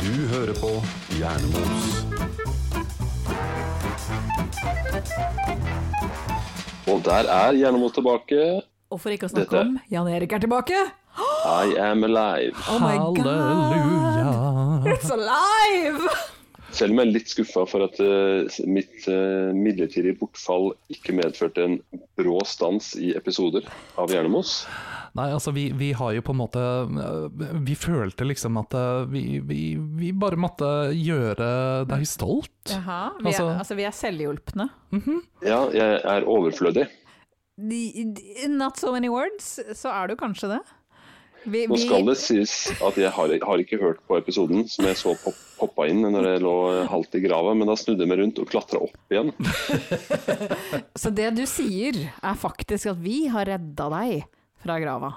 Du hører på Hjernemos. Og der er Hjernemos tilbake. Og for ikke å snakke Dette- om, Jan Erik er tilbake! I am alive. Oh my god! It's alive! Selv om jeg er litt skuffa for at eh, mitt eh, midlertidige bortfall ikke medførte en brå stans i episoder av Hjernemos. Nei, altså vi, vi har jo på en måte øh, Vi følte liksom at øh, vi, vi, vi bare måtte gjøre deg stolt. Jaha, vi er, Altså- altså, vi er selvhjulpne. Ja, jeg er overflødig. De- de- Not so many words, så er du kanskje det. Vi, Nå vi- skal det sies at jeg har, har ikke hørt på episoden som jeg så pop, poppa inn når jeg lå eh, halvt i grava, men da snudde jeg meg rundt og klatra opp igjen. Så det du sier er faktisk at vi har redda deg fra grava.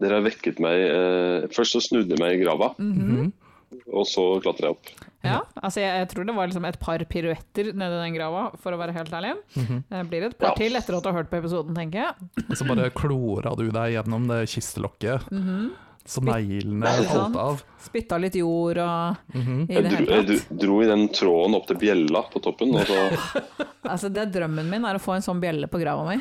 Dere har vekket meg eh, Først så snudde jeg meg i grava, Mm. Mhm. Mhm. og så klatra jeg opp. Ja, altså jeg, jeg tror det var liksom et par piruetter nedi den grava, for å være helt ærlig. Det blir et Mhm. Ja. par til etter at du har hørt på episoden, tenker jeg. Og så bare klora du deg gjennom det kistelokket som neglene Ikke Mhm. sant? falt av. Spytta litt jord og i Jeg det dro, hele jeg tatt. dro- dro i den tråden opp til bjella på toppen, og så Altså det drømmen min er å få en sånn bjelle på grava mi.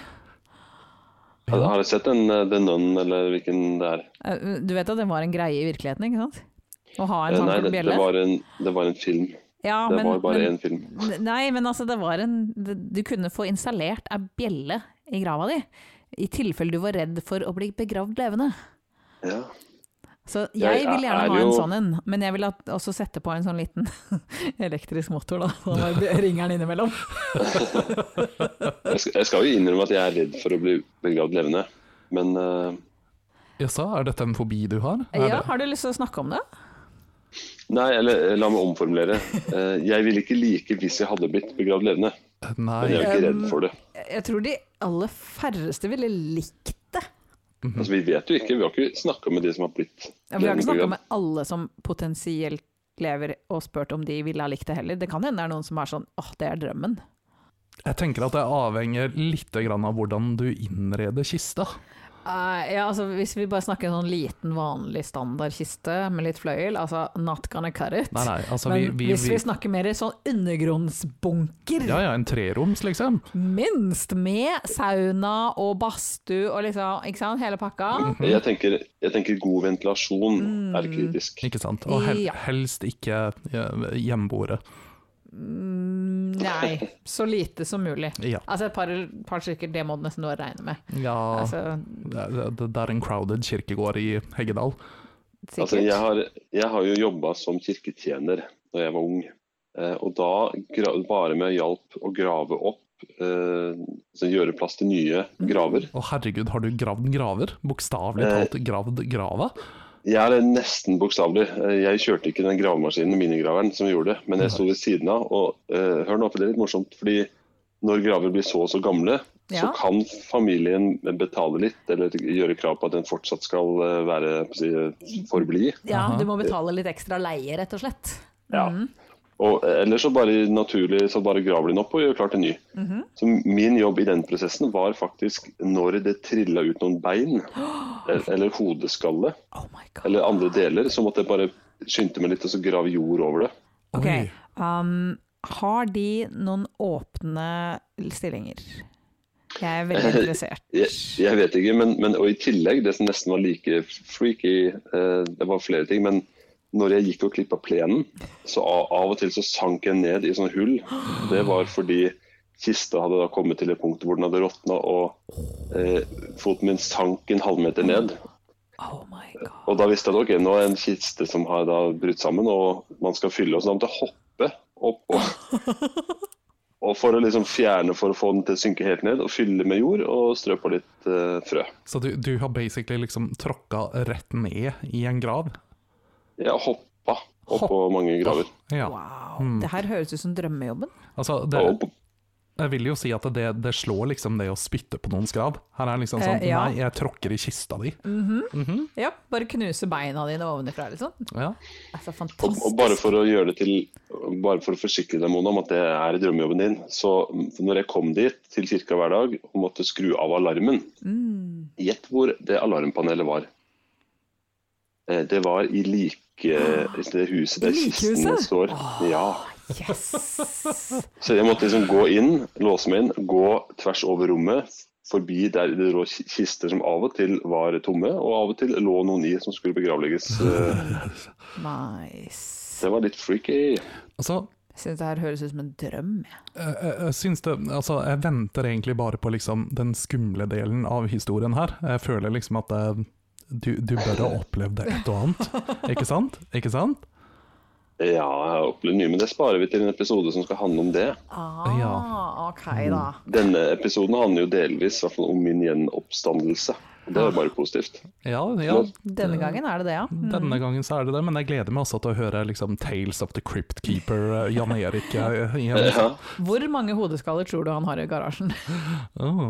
har jeg sett en eh, The Nun, eller hvilken det er. Eh, Du vet at det var en greie i virkeligheten, ikke sant? Å ha en Eh, sånn Nei, full det, bjelle. det, var en, det var en film. ja, Det men- var bare men- én film. Nei, men altså det var en det- Du kunne få installert ei bjelle i grava di. I tilfelle du var redd for å bli begravd levende. Ja. Så jeg, Jeg vil gjerne er ha en jo- sånn en, men jeg vil at, også sette på en sånn liten elektrisk motor, da. Så da bare ringer den innimellom. Jeg, skal, jeg skal jo innrømme at jeg er redd for å bli begravd levende, men eh, Jaså, er dette en fobi du har? Er Ja, det- har du lyst til å snakke om det? Nei, eller eh, la meg omformulere. Eh, Jeg ville ikke like hvis jeg hadde blitt begravd levende, men jeg Nei. er jo ikke redd for det. Jeg tror de aller færreste ville likt det. Altså, vi vet jo ikke, vi har ikke snakka med de som har blitt Ja, vi har ikke snakka begravd. med alle som potensielt lever og spurt om de ville ha likt det heller. Det kan hende det er noen som er sånn åh, det er drømmen. Jeg tenker at det avhenger litt grann av hvordan du innreder kista. Eh, ja, altså Hvis vi bare snakker en sånn liten, vanlig standardkiste med litt fløyel, altså not gonna cut it. Nei, nei, altså Men vi, vi, hvis vi vi snakker mer i sånn undergrunnsbunker, Ja ja, en treroms, liksom. minst, med sauna og badstue og liksom, ikke sant, hele Mm. pakka. Jeg tenker, jeg tenker god ventilasjon er Mm. kritisk. Ikke sant. Og hel, Ja. helst ikke eh, hjemboere. mm, Nei, så lite som mulig. Ja. Altså et par, par stykker, det må det nesten være å regne med. ja Altså, det, er- det det er en crowded kirkegård i Heggedal. sikkert. Altså, jeg, har, jeg har jo jobba som kirketjener da jeg var ung. Eh, og da gra bare med hjalp å grave opp, eh, altså gjøre plass til nye graver. Å herregud, har du gravd graver? Bokstavelig Eh. talt gravd grava? Jeg er nesten bokstavelig. Eh, Jeg kjørte ikke den gravemaskinen, minigraveren, som gjorde det, men jeg sto ved siden av. Og eh, hør nå, for det er litt morsomt, fordi når graver blir så og så gamle, så Ja. kan familien betale litt, eller gjøre krav på at den fortsatt skal eh, være på å si, eh, forbli. Ja, Aha. du må betale litt ekstra leie, rett og slett. Ja. Mhm. Og eller så bare naturlig så bare graver de den opp og gjør klart en ny. Så min jobb i den prosessen var faktisk når det trilla ut noen bein, el- eller hodeskalle, Oh my god. eller andre deler, så måtte jeg bare skynde meg litt og så grave jord over det. Ok, Oi. um, har de noen åpne stillinger? Jeg er veldig interessert. Jeg, jeg vet ikke, men, men og i tillegg, det som nesten var like freaky, eh, det var flere ting, men når jeg gikk og klippa plenen, så av, av og til så sank jeg ned i sånne hull. Det var fordi kista hadde da kommet til et punkt hvor den hadde råtna, og eh, foten min sank en halvmeter ned. Oh my god. Og da visste jeg at ok, nå er en kiste som har da brutt sammen, og man skal fylle, og så da måtte jeg hoppe opp og, og for å liksom fjerne for å få den til å synke helt ned, og fylle med jord og strø på litt eh, frø. Så du, du har basically liksom tråkka rett ned i en grav? Jeg hoppa oppå mange graver. Ja. Wow. Det her høres ut som drømmejobben. Altså, Og det, på, Jeg vil jo si at det, det slår liksom det å spytte på noens grav. Her er det liksom sånn Eh, ja. Nei, jeg tråkker i kista di. Ja, bare knuse beina dine ovenfra, liksom. Det Ja. er så Og, fantastisk. og bare for å gjøre det til Bare for å forsikre deg Mona, om at det er drømmejobben din, så når jeg kom dit til kirka hver dag og måtte skru av alarmen Gjett hvor det alarmpanelet var. Eh, Det var i like det huset der kisten Likhuset? står. Ja. Yes! Så jeg måtte liksom gå inn, låse meg inn, gå tvers over rommet, forbi der det lå ki- kister som av og til var tomme, og av og til lå noen i som skulle begravlegges. Eh, Nice. Det var litt freaky. Altså, Jeg syns det her høres ut som en drøm. jeg. jeg, jeg, jeg Eh, syns det Altså, jeg venter egentlig bare på liksom den skumle delen av historien her. Jeg føler liksom at eh, du, du bør ha opplevd det et og annet. Ikke sant? Ikke sant? Ja, jeg har opplevd mye, men det sparer vi til en episode som skal handle om det. Ah, Ja. OK, da. Denne episoden handler jo delvis i hvert fall om min gjenoppstandelse. og Det er jo bare positivt. Ja, ja. Denne gangen er det det, ja. Denne gangen så er det det, men jeg gleder meg også til å høre liksom Tales of the Crypt Keeper, eh, Jan Erik eh, igjen. Ja, Hvor mange hodeskaller tror du han har i garasjen? Åh,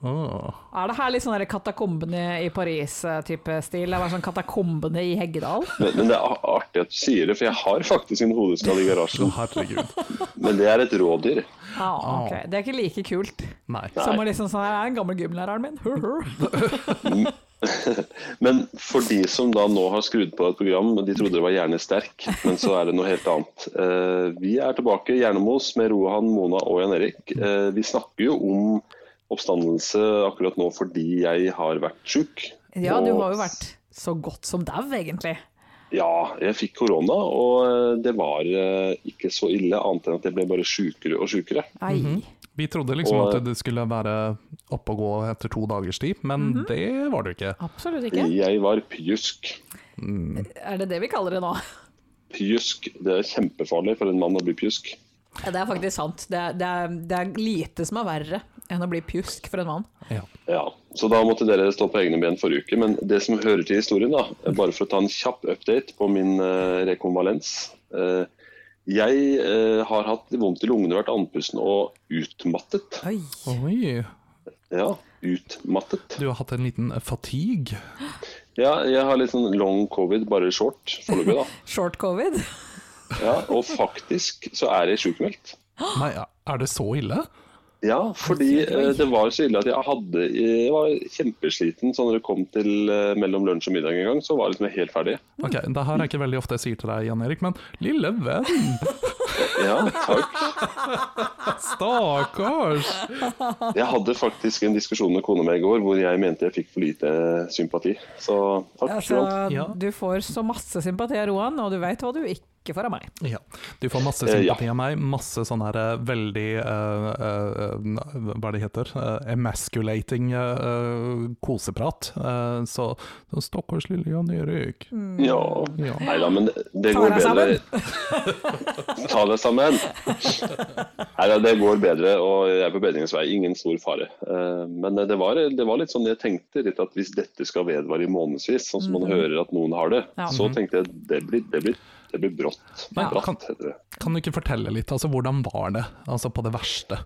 åh. Er det her litt sånn der katakombene i Paris-type stil? Det var sånn katakombene i Heggedal? men, men det er a- artig at du sier det, for jeg har faktisk en hodeskalle i Å, garasjen. herregud. Men det er et rådyr. Ah, ok. Det er ikke like kult Nei. som å liksom sånn her er den gamle gymlæreren min. Hur, hur. Men for de som da nå har skrudd på et program, de trodde det var Hjernesterk, men så er det noe helt annet. Eh, vi er tilbake, Hjernemos, med Rohan, Mona og Jan Erik. Eh, vi snakker jo om oppstandelse akkurat nå fordi jeg har vært sjuk. Ja, du Og- har jo vært så godt som dau, egentlig. Ja, jeg fikk korona, og eh, det var eh, ikke så ille, annet enn at jeg ble bare sjukere og sjukere. Nei. Vi trodde liksom Og- at det skulle være oppe og gå etter to dagers tid, men det var det jo ikke. Absolutt ikke. Jeg var pjusk. Er det det vi kaller det nå? Pjusk, det er kjempefarlig for en mann å bli pjusk. Ja, det er faktisk sant. Det er, det, er, det er lite som er verre enn å bli pjusk for en mann. Ja. Ja, så da måtte dere stå på egne ben forrige uke. Men det som hører til historien, da, bare for å ta en kjapp update på min eh, rekonvalens. Eh, jeg eh, har hatt vondt i lungene, vært andpusten og utmattet. Oi. Oi, Ja, utmattet. du har hatt en liten fatigue. Ja, jeg har litt sånn long covid, bare short foreløpig, da. Short covid? Ja, og faktisk så er jeg sjukmeldt. Nei, er det så ille? Ja, fordi eh, det var så ille at jeg hadde Jeg var kjempesliten. Så når det kom til eh, mellom lunsj og middag en gang, så var jeg liksom helt ferdig. Ok, det her er ikke veldig ofte jeg sier til deg, Jan Erik, men lille venn, Ja, takk. stakkars! Jeg hadde faktisk en diskusjon med kona mi i går hvor jeg mente jeg fikk for lite sympati. Så takk. Altså, Roald. Ja. Du får så masse sympati av Roan, og du veit hva du ikke får av meg. Ja. Du får masse Eh, ja. sympati av meg, masse sånn her eh, veldig eh, eh, Hva det heter? eh, emasculating eh, eh, koseprat. Eh, så så stakkars lille Jan Erik. Ja. Ja. Nei da, men det Ta går deg bedre. Ta deg sammen. Nei da, det går bedre, og jeg er på bedringens vei. Ingen stor fare. Eh, Men det var, det var litt sånn jeg tenkte litt at hvis dette skal vedvare i månedsvis, sånn som man hører at noen har det, Mhm. Ja. så tenkte jeg det blir, det blir, det blir brått. Men kan- Bratt, heter det. Kan du ikke fortelle litt? Altså, hvordan var det? Altså, på det verste.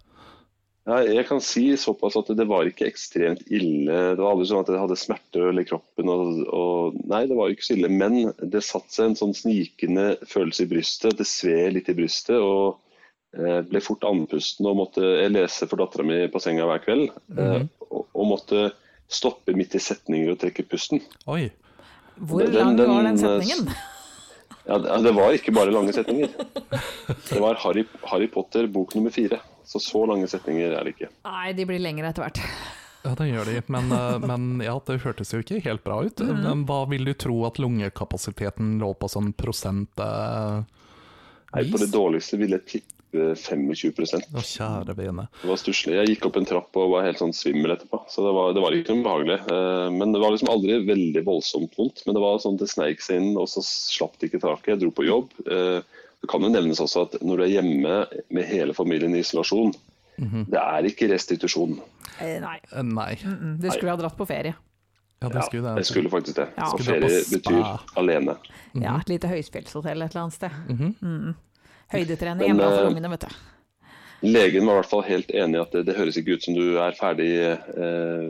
Ja, jeg kan si såpass at det var ikke ekstremt ille. Det var aldri sånn at jeg hadde smerter i kroppen. Og, og, nei, det var ikke så ille. Men det satte seg en sånn snikende følelse i brystet. Det sved litt i brystet. og eh, ble fort andpusten og måtte jeg lese for dattera mi på senga hver kveld. Eh, og, og måtte stoppe midt i setninger og trekke pusten. Oi. Hvor Den- lang den- var den den- setningen? Ja, det, det var ikke bare lange setninger. Det var Harry, Harry Potter bok nummer fire. Så så lange setninger er det ikke. Nei, de blir lengre etter hvert. Ja, det gjør de, men, eh, men ja, det hørtes jo ikke helt bra ut. Mm. Men Hva vil du tro at lungekapasiteten lå på sånn prosent eh, Nei, på det vis? dårligste ville jeg tippe 25 Å, kjære vene. Det var stusslig. Jeg gikk opp en trapp og var helt sånn svimmel etterpå. Så det var, det var ikke noe behagelig. Eh, Men det var liksom aldri veldig voldsomt vondt. Men det var sånn det sneik seg inn, og så slapp det ikke taket. Jeg dro på jobb. Eh, Det kan jo nevnes også at når du er hjemme med hele familien i isolasjon, Mhm. det er ikke restitusjon. Eh, Nei. Eh, Nei. Mm, Du skulle ha dratt på ferie. Ja, det Ja, skulle det. jeg skulle faktisk det. Ja. Så Skulle dra på ferie spa. betyr alene. Ja, et lite høyfjellshotell et eller annet sted. Mm. Mhm. Høydetrening Men, er bra for eh, ungene, vet du. Legen var i hvert fall helt enig i at det, det høres ikke ut som du er ferdig eh,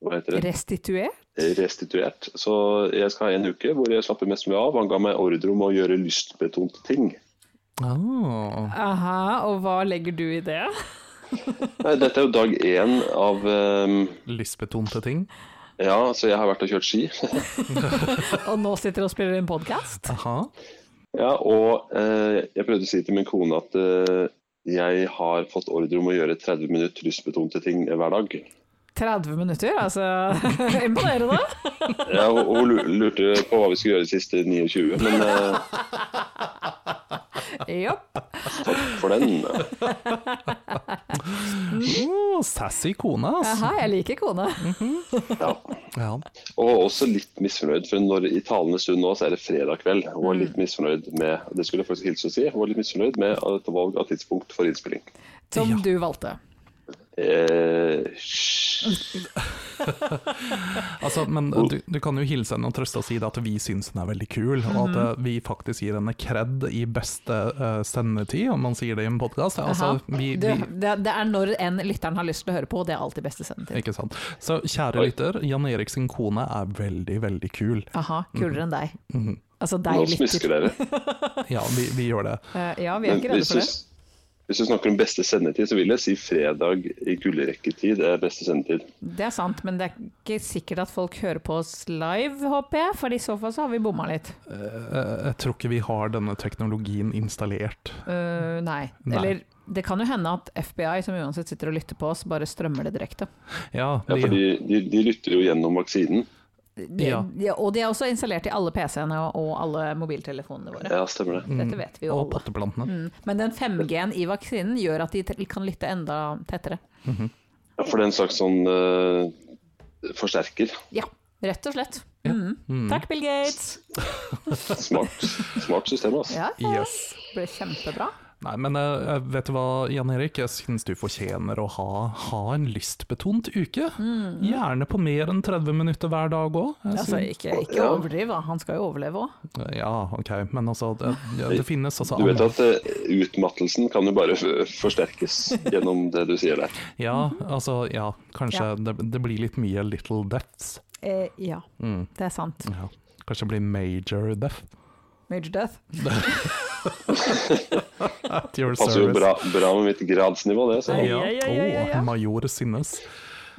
hva heter det? Restituert? restituert. Så jeg skal ha en uke hvor jeg slapper mest mulig av. Han ga meg ordre om å gjøre lystbetonte ting. Ah. Aha, og hva legger du i det? Nei, dette er jo dag én av eh, Lystbetonte ting. Ja, så jeg har vært og kjørt ski. Og nå sitter du og spiller en podkast? Aha. Ja, og eh, jeg prøvde å si til min kone at eh, jeg har fått ordre om å gjøre 30 minutter lystbetonte ting hver dag. 30 minutter, altså. Imponerende. Ja, og, og lu- lurte på hva vi skulle gjøre de siste 29, men eh, Jopp. for den Oh, sassy kone, altså. Mm. Aha, jeg liker kone. Mm. ja. Ja. Og også litt misfornøyd, for når, i talende stund nå så er det fredag kveld. Og var Mm. litt misfornøyd med det skulle jeg faktisk hilse og si, jeg var litt misfornøyd med dette valg av tidspunkt for innspilling. Som Ja. du valgte. Eh, hysj. Altså, men eh, du, du kan jo hilse henne og trøste og si det at vi syns den er veldig kul, og at Mm. eh, vi faktisk gir henne kred i beste eh, sendetid, om man sier det i en podkast. Altså, Aha. vi, Det, vi, det, det er når en lytteren har lyst til å høre på, og det er alltid beste sendetid. ikke sant. Så kjære Oi. lytter, Jan Erik sin kone er veldig, veldig kul. Aha, kulere enn deg. Mhm. Altså nå deg lytter. smisker dere. Ja, vi, vi gjør det. Eh, Ja, vi Men er ikke redde hvis for du, det. hvis du snakker om beste sendetid, så vil jeg si fredag i gullrekketid er beste sendetid. Det er sant, men det er ikke sikkert at folk hører på oss live, håper jeg. For i så fall så har vi bomma litt. Eh, jeg tror ikke vi har denne teknologien installert. Eh, nei. Nei. Eller det kan jo hende at FBI, som uansett sitter og lytter på oss, bare strømmer det direkte. Ja, Ja, for vi, de, de, de lytter jo gjennom vaksinen. De, Ja. de, og de er også installert i alle PC-ene og, og alle mobiltelefonene våre. Ja, stemmer Mm. det. Dette vet vi Mhm. jo og alle. potteplantene. Mm. Men den 5G-en i vaksinen gjør at de te- kan lytte enda tettere. Ja, for det er en slags sånn eh, forsterker. Ja, rett og slett. Mm. Mhm. Takk, Bill Gates! Smart, smart system, altså. Ja, Yes. det ble kjempebra. Nei, men eh, vet du hva, Jan Erik? Jeg syns du fortjener å ha, ha en lystbetont uke. Mm. Gjerne på mer enn 30 minutter hver dag òg. Altså, ikke, ikke overdriv, da. Han skal jo overleve òg. Ja, ok, men altså Det, ja, det finnes altså Du vet andre- at eh, utmattelsen kan jo bare f- forsterkes gjennom det du sier der. Ja, altså, ja, kanskje Ja. Det, det blir litt mye little deaths. Eh, ja, det er sant. Ja. Kanskje det blir major death. Major Death. At your Passer jo service. bra, bra med mitt gradsnivå, det. Så. Ja. Ja, ja, ja, ja, ja. Å, major Sinnes.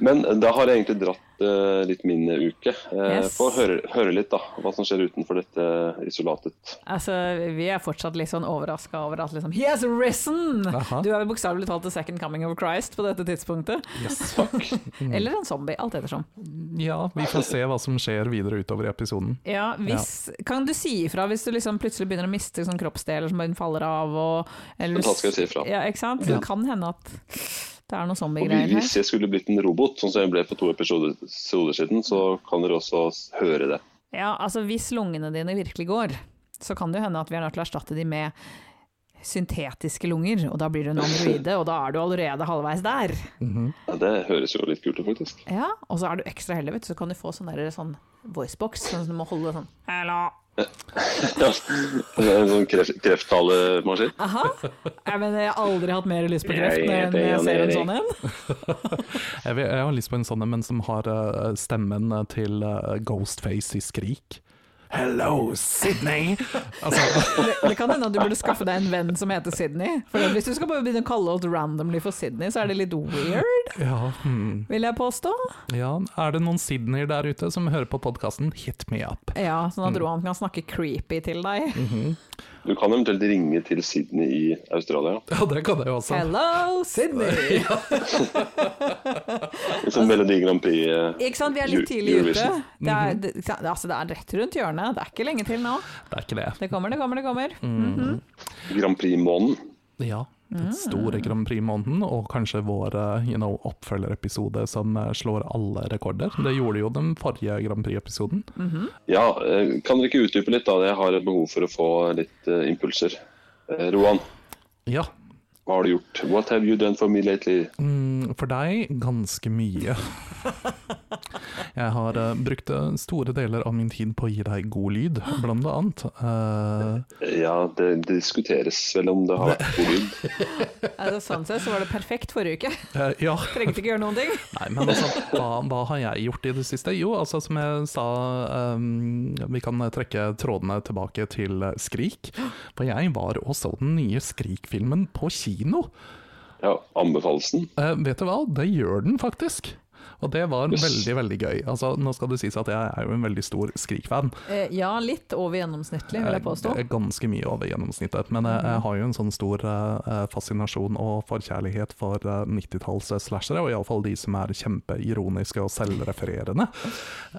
Men eh, da har jeg egentlig dratt eh, litt min uke. Eh, Yes. Få høre, høre litt, da. Hva som skjer utenfor dette isolatet. Altså, vi er fortsatt litt sånn overraska over at liksom He has risen! Aha. Du er jo bokstavelig talt the second coming of Christ på dette tidspunktet. Yes. Eller en zombie, alt ettersom. Ja, vi får se hva som skjer videre utover i episoden. Ja, hvis, Kan du si ifra hvis du liksom plutselig begynner å miste sånn kroppsdeler som bare faller av? Og, eller, Da skal jeg si ifra. Ja, ikke sant? Det kan hende at det er noe Og vi- zombiegreier her. Hvis jeg skulle blitt en robot, sånn som jeg ble for to episoder episoder siden, så kan dere også s- høre det. Ja, altså hvis lungene dine virkelig går, så kan det jo hende at vi er nødt til å erstatte de med syntetiske lunger, og da blir du en androide, og da er du allerede halvveis der. Ja, det høres jo litt kult ut, faktisk. Ja, og så er du ekstra heldig, vet du, så kan du få sånn der sånn voicebox, sånn som du må holde sånn Hello! Ja. Det er En sånn kreft, krefttalemaskin. Ah. Aha! Jeg mener, jeg har aldri hatt mer lyst på Jeg kreft enn heter jeg Jan ser en Erik. sånn en. Jeg, vil, jeg har lyst på en sånn en, men som har eh, stemmen til eh, Ghostface i Skrik. Hello, Sydney! altså, Det, det kan hende at du burde skaffe deg en venn som heter Sydney. For hvis du skal bare begynne å kalle oss randomly for Sydney, så er det litt weird, ja, hmm, vil jeg påstå. ja, er det noen Sydneyer der ute som hører på podkasten, hit me up. Ja, sånn Mm. at Roan kan snakke creepy til deg. Du kan eventuelt ringe til Sydney i Australia. Ja, det kan jeg jo også. Hello, Sydney! Altså- Som Melodi Grand Prix. eh, Ikke sant, vi er litt Eu- tidlig ute. Eurovision. Det er, det, det- altså, det er rett rundt hjørnet, det er ikke lenge til nå. Det er ikke det. Det kommer, det kommer, det kommer. Mm. Grand Prix-måneden. Ja. Den store Grand Prix-måneden, og kanskje vår eh, you know, oppfølgerepisode som eh, slår alle rekorder. Det gjorde jo den forrige Grand Prix-episoden. Ja, eh, kan dere ikke utdype litt, da? Jeg har behov for å få litt eh, impulser. Eh, Roan, Ja, hva har du gjort? What have you done for me lately? Mm, For deg ganske mye. Jeg har eh, brukt eh, store deler av min tid på å gi deg god lyd, blant annet. Eh, Ja, det, det diskuteres vel om det har vært god lyd. Altså, sånn sett så var det perfekt forrige uke. eh, ja. Trengte ikke gjøre noen ting. Nei, men altså, hva, hva har jeg gjort i det siste? Jo, altså som jeg sa, ehm, vi kan trekke trådene tilbake til eh, Skrik. For jeg var og så den nye Skrik-filmen på kino. Ja, Anbefalelsen? Eh, vet du hva, det gjør den faktisk. Og det var Yes. veldig, veldig gøy. Altså, nå skal det sies at jeg er jo en veldig stor Skrik-fan. Eh, ja, litt over gjennomsnittlig, vil Eh, jeg påstå. Mm. er Ganske mye over gjennomsnittet. Men jeg, jeg har jo en sånn stor eh, fascinasjon og forkjærlighet for eh, 90-talls-slashere, og iallfall de som er kjempeironiske og selvrefererende.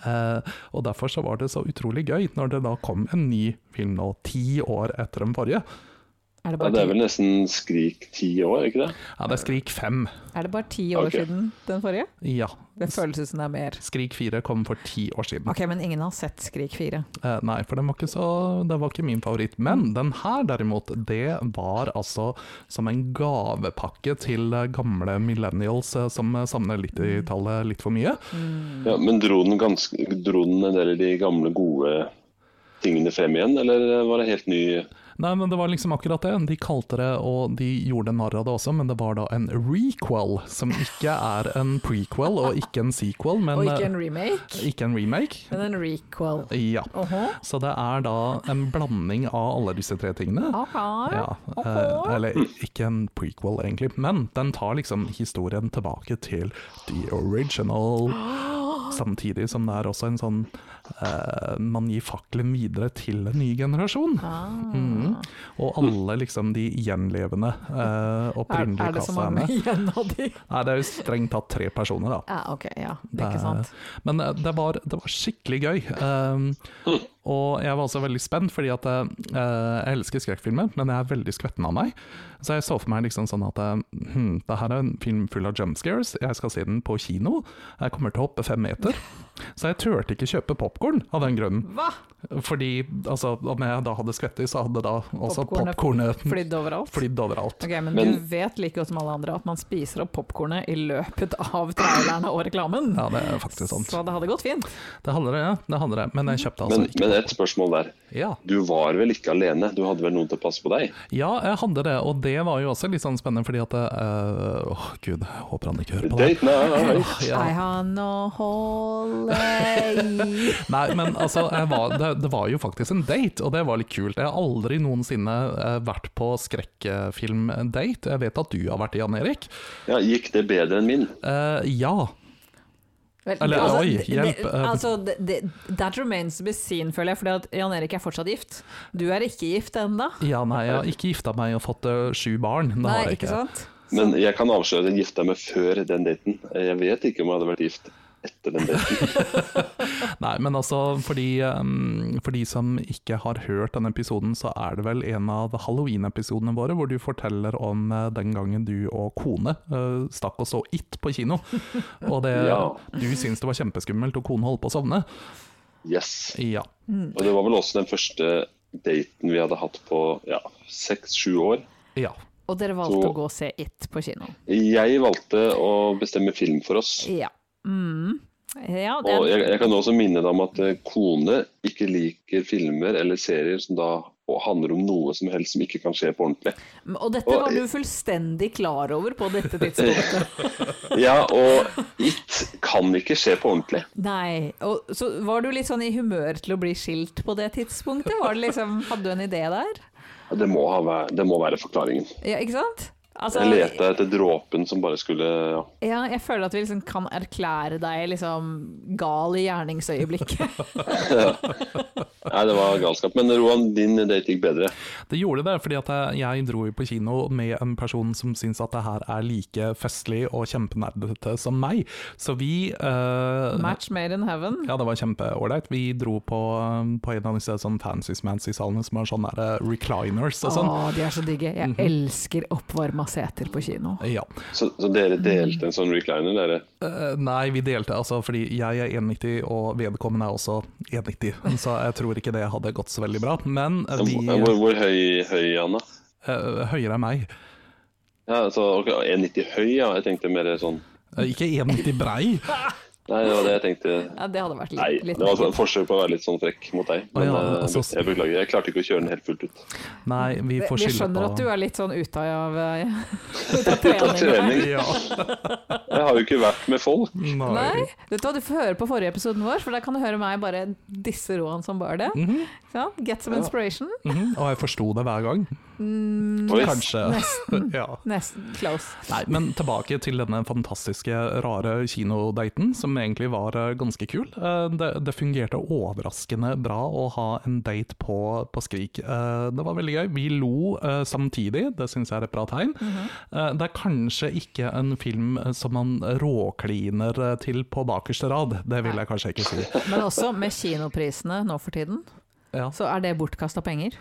Eh, og derfor så var det så utrolig gøy når det da kom en ny film nå, ti år etter den forrige. Er Ja, det bare det er ti, vel nesten Skrik ti år, ikke det? Ja, det er Skrik 5. er det bare ti år Ok. siden den forrige? Ja. Det føles ut som det er mer. Skrik 4 kom for ti år siden. Ok, men ingen har sett Skrik 4. Eh, nei, for den var ikke så Det var ikke min favoritt. Men Mm. den her derimot, det var altså som en gavepakke til eh, gamle millennials eh, som eh, savner Mm. 90-tallet litt for mye. Ja, Mm. men dro den, ganske, dro den en del av de gamle, gode tingene frem igjen, eller eh, var det helt ny Nei, men det var liksom akkurat det. De kalte det, og de gjorde narr av det også, men det var da en requel, som ikke er en prequel og ikke en sequel, men Og ikke en eh, remake, ikke en remake. men en requel. Ja. Åhå. Så det er da en blanding av alle disse tre tingene. Aha. Ja, eh, eller ikke en prequel egentlig, men den tar liksom historien tilbake til the original. Samtidig som det er også en sånn eh, Man gir fakkelen videre til en ny generasjon. Ah. Mhm. Og alle liksom de gjenlevende eh, Er, opprinnelige er det så mange kassaene. igjen av de? Nei, det er jo strengt tatt tre personer, da. Ja, ok, ja. Det er ikke sant. Men eh, det var, det var skikkelig gøy. Um, og jeg var også veldig spent, fordi at eh, jeg elsker skrekkfilmer, men jeg er veldig skvetten av meg. Så jeg så for meg liksom sånn at eh, hm, det her er en film full av jump scares, jeg skal se den på kino, jeg kommer til å hoppe fem meter. Så jeg turte ikke kjøpe popkorn av den grunnen. Hva? Fordi altså, om jeg da hadde skvettet, så hadde da også Popcornet popkornet Flydd overalt? Eh, flydd overalt. Ok, men, Men- du vet like godt som alle andre at man spiser opp popkornet i løpet av trailerne og reklamen. Ja, det er faktisk sant. Så det hadde gått fint. Det hadde det, ja. det hadde det. Men jeg kjøpte altså men, ikke. men et spørsmål der. Ja. Du var vel ikke alene? Du hadde vel noen til å passe på deg? Ja, jeg hadde det, og det var jo også litt sånn spennende fordi at det, eh, Åh, gud, jeg håper han ikke hører på det. Date night! Ja. I har no hole i Nei, men altså, jeg var, det, det var jo faktisk en date, og det var litt kult. Jeg har aldri noensinne eh, vært på skrekkfilm-date. Jeg vet at du har vært det, Jan Erik. Ja, gikk det bedre enn min? Eh, ja. Vel, altså, Eller, oi, det- hjelp, Det, eh. altså, det, det, that remains to be seen, føler jeg, for Jan Erik er fortsatt gift. Du er ikke gift ennå. Ja, nei, jeg har ikke gifta meg og fått eh, sju barn. Det Nei, har jeg ikke ikke. sant? Men jeg kan avsløre at jeg gifta meg før den daten. Jeg vet ikke om jeg hadde vært gift etter den daten. Nei, men altså, for de, eh, for de som ikke har hørt denne episoden, så er det vel en av halloween-episodene våre hvor du forteller om eh, den gangen du og kone eh, stakk og så It på kino. Og det, Ja. du syntes det var kjempeskummelt, og kone holdt på å sovne. Yes. Ja. Og det var vel også den første daten vi hadde hatt på ja, seks-sju år. Ja. Og dere valgte Så- å gå og se It på kino. Jeg valgte å bestemme film for oss. Ja. Mm. ja det, Og jeg, jeg kan også minne deg om at eh, kone ikke liker filmer eller serier som da og handler om noe som helst som ikke kan skje på ordentlig. og dette og- var du fullstendig klar over på dette tidspunktet. Ja, og It kan ikke skje på ordentlig. Nei. Og, så var du litt sånn i humør til å bli skilt på det tidspunktet? Var det liksom, hadde du en idé der? Det må, ha væ- det må være forklaringen. Ja, ikke sant? Altså, Jeg leta etter dråpen som bare skulle ja. Ja, jeg føler at vi liksom kan erklære deg liksom gal i gjerningsøyeblikket. Nei, det var galskap. Men Roan, din date gikk bedre. Det gjorde det, fordi at jeg- jeg dro jo på kino med en person som syns at det her er like festlig og kjempenerdete som meg. Så vi eh, Match made in heaven. Ja, det var kjempeålreit. Vi dro på, på en av disse sånn fancy-smancy-salene som har sånne der, eh, recliners og sånn. Å, de er så digge. Jeg elsker oppvarma seter på kino. Ja. Så, så dere Mm. delte en sånn recliner, dere? Eh, nei, vi delte altså, fordi jeg er 1,90 og vedkommende er også 1,90, så jeg tror ikke det hadde gått så veldig bra. Men eh, vi Hvor, hvor høy, høy Anna? altså, eh, høyere enn meg. Ja, så ok, 1,90 høy, ja. Jeg tenkte mer sånn Eh, ikke 1,90 brei. Nei, det var det jeg tenkte. Ja, det hadde vært litt, Nei, det litt var et forsøk på å være litt sånn frekk mot deg. Men Å ja, eh, altså- jeg beklager, jeg klarte ikke å kjøre den helt fullt ut. Nei, vi Vi får vi skylde skjønner på at du er litt sånn ute av, eh, Ut ut av av treningen. trening. Ja. Jeg har jo ikke vært med folk. Nei. Nei, vet du hva, du får høre på forrige episoden vår, for der kan du høre meg bare disse råene som bare det. Mhm, Ja, get some inspiration. mhm, Og jeg forsto det hver gang. Oi. Mm, Kanskje. Nesten, Ja. nesten close. Nei, men tilbake til denne fantastiske, rare kinodaten, som egentlig var eh, ganske kul. Eh, Det, det fungerte overraskende bra å ha en date på, på Skrik. Eh, Det var veldig gøy. Vi lo eh, samtidig, det syns jeg er et bra tegn. Eh, Det er kanskje ikke en film eh, som man råkliner eh, til på bakerste rad, det vil jeg kanskje ikke si. Men også med kinoprisene nå for tiden, Ja, så er det bortkasta penger.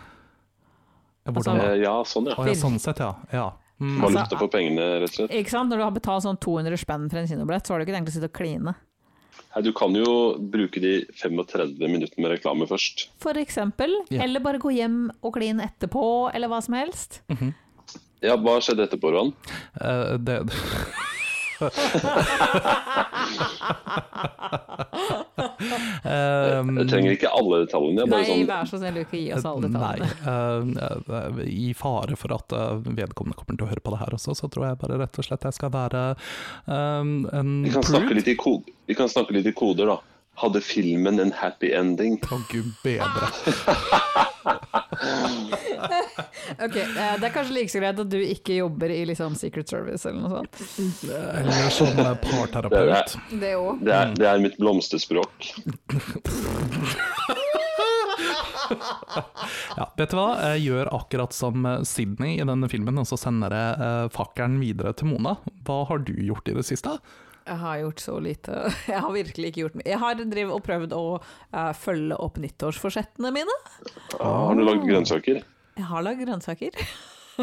hvordan da? Eh, Ja, sånn ja. Å ja, sånn sett, ja. ja. Mm. Valuta for pengene, rett og slett. Ikke sant? Når du har betalt sånn 200 spenn for en kinobillett, så har du ikke tenkt å sitte og kline. Nei, du kan jo bruke de 35 minuttene med reklame først. For eksempel. Ja. Eller bare gå hjem og kline etterpå, eller hva som helst. Ja, hva skjedde etterpå, Roan? Eh, det Um, Jeg trenger ikke alle detaljene. jeg Nei, Bare sånn vær så snill, ikke gi oss alle Nei. detaljene. eh, eh, I fare for at eh, vedkommende kommer til å høre på det her også, så tror jeg bare rett og slett jeg skal være um, en Vi kan, snakke litt i ko- vi kan snakke litt i koder, da. Hadde filmen en happy ending? Å, gud bedre. Ok, eh, Det er kanskje like så greit at du ikke jobber i liksom Secret Service eller noe sånt. Eller som eh, parterapeut. Det òg. Det er, det er mitt blomsterspråk. Ja, vet du hva? Jeg gjør akkurat som eh, Sydney i denne filmen, og så sender jeg eh, fakkelen videre til Mona. Hva har du gjort i det siste? Jeg har gjort så lite. Jeg har virkelig ikke gjort mye. Jeg har drevet og prøvd å eh, følge opp nyttårsforsettene mine. Har du lagd grønnsaker? Jeg har lagd grønnsaker.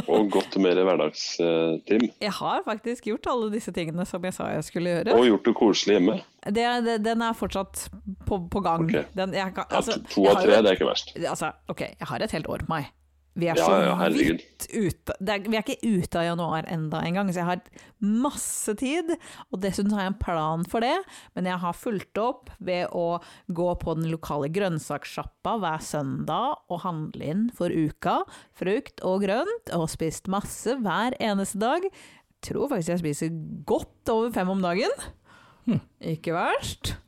Og gått mer hverdagstim? Jeg har faktisk gjort alle disse tingene som jeg sa jeg skulle gjøre. Og gjort det koselig hjemme? Det, det, den er fortsatt på, på gang. Ok. Den, jeg kan, Ja, altså, to- to jeg av har tre, jo- det er ikke verst. Altså, ok, jeg har et helt år på meg. Vi er Ja, så ja, herregud. vidt ute det er, Vi er ikke ute av januar enda en gang, så jeg har masse tid. Og dessuten har jeg en plan for det, men jeg har fulgt opp ved å gå på den lokale grønnsakssjappa hver søndag og handle inn for uka. Frukt og grønt, og spist masse hver eneste dag. Jeg tror faktisk jeg spiser godt over fem om dagen. Ikke verst.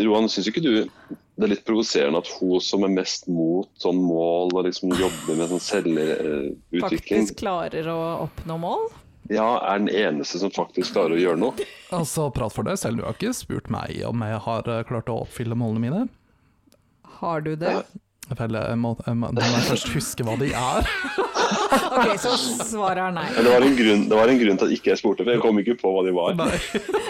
Roan, syns Eh, ikke du det er litt provoserende at hun som er mest mot sånn mål og liksom jobber med sånn selvutvikling, Faktisk klarer å oppnå mål. ja, er den eneste som faktisk klarer å gjøre noe? Altså, prat for deg selv, du har ikke spurt meg om jeg har eh, klart å oppfylle målene mine. Har du det? Vel, jeg eh, må, jeg må, da må jeg først huske hva de er. Ok, så svaret er nei. Men Det var en grunn, det var en grunn til at ikke jeg spurte, for jeg kom ikke på hva de var. Nei.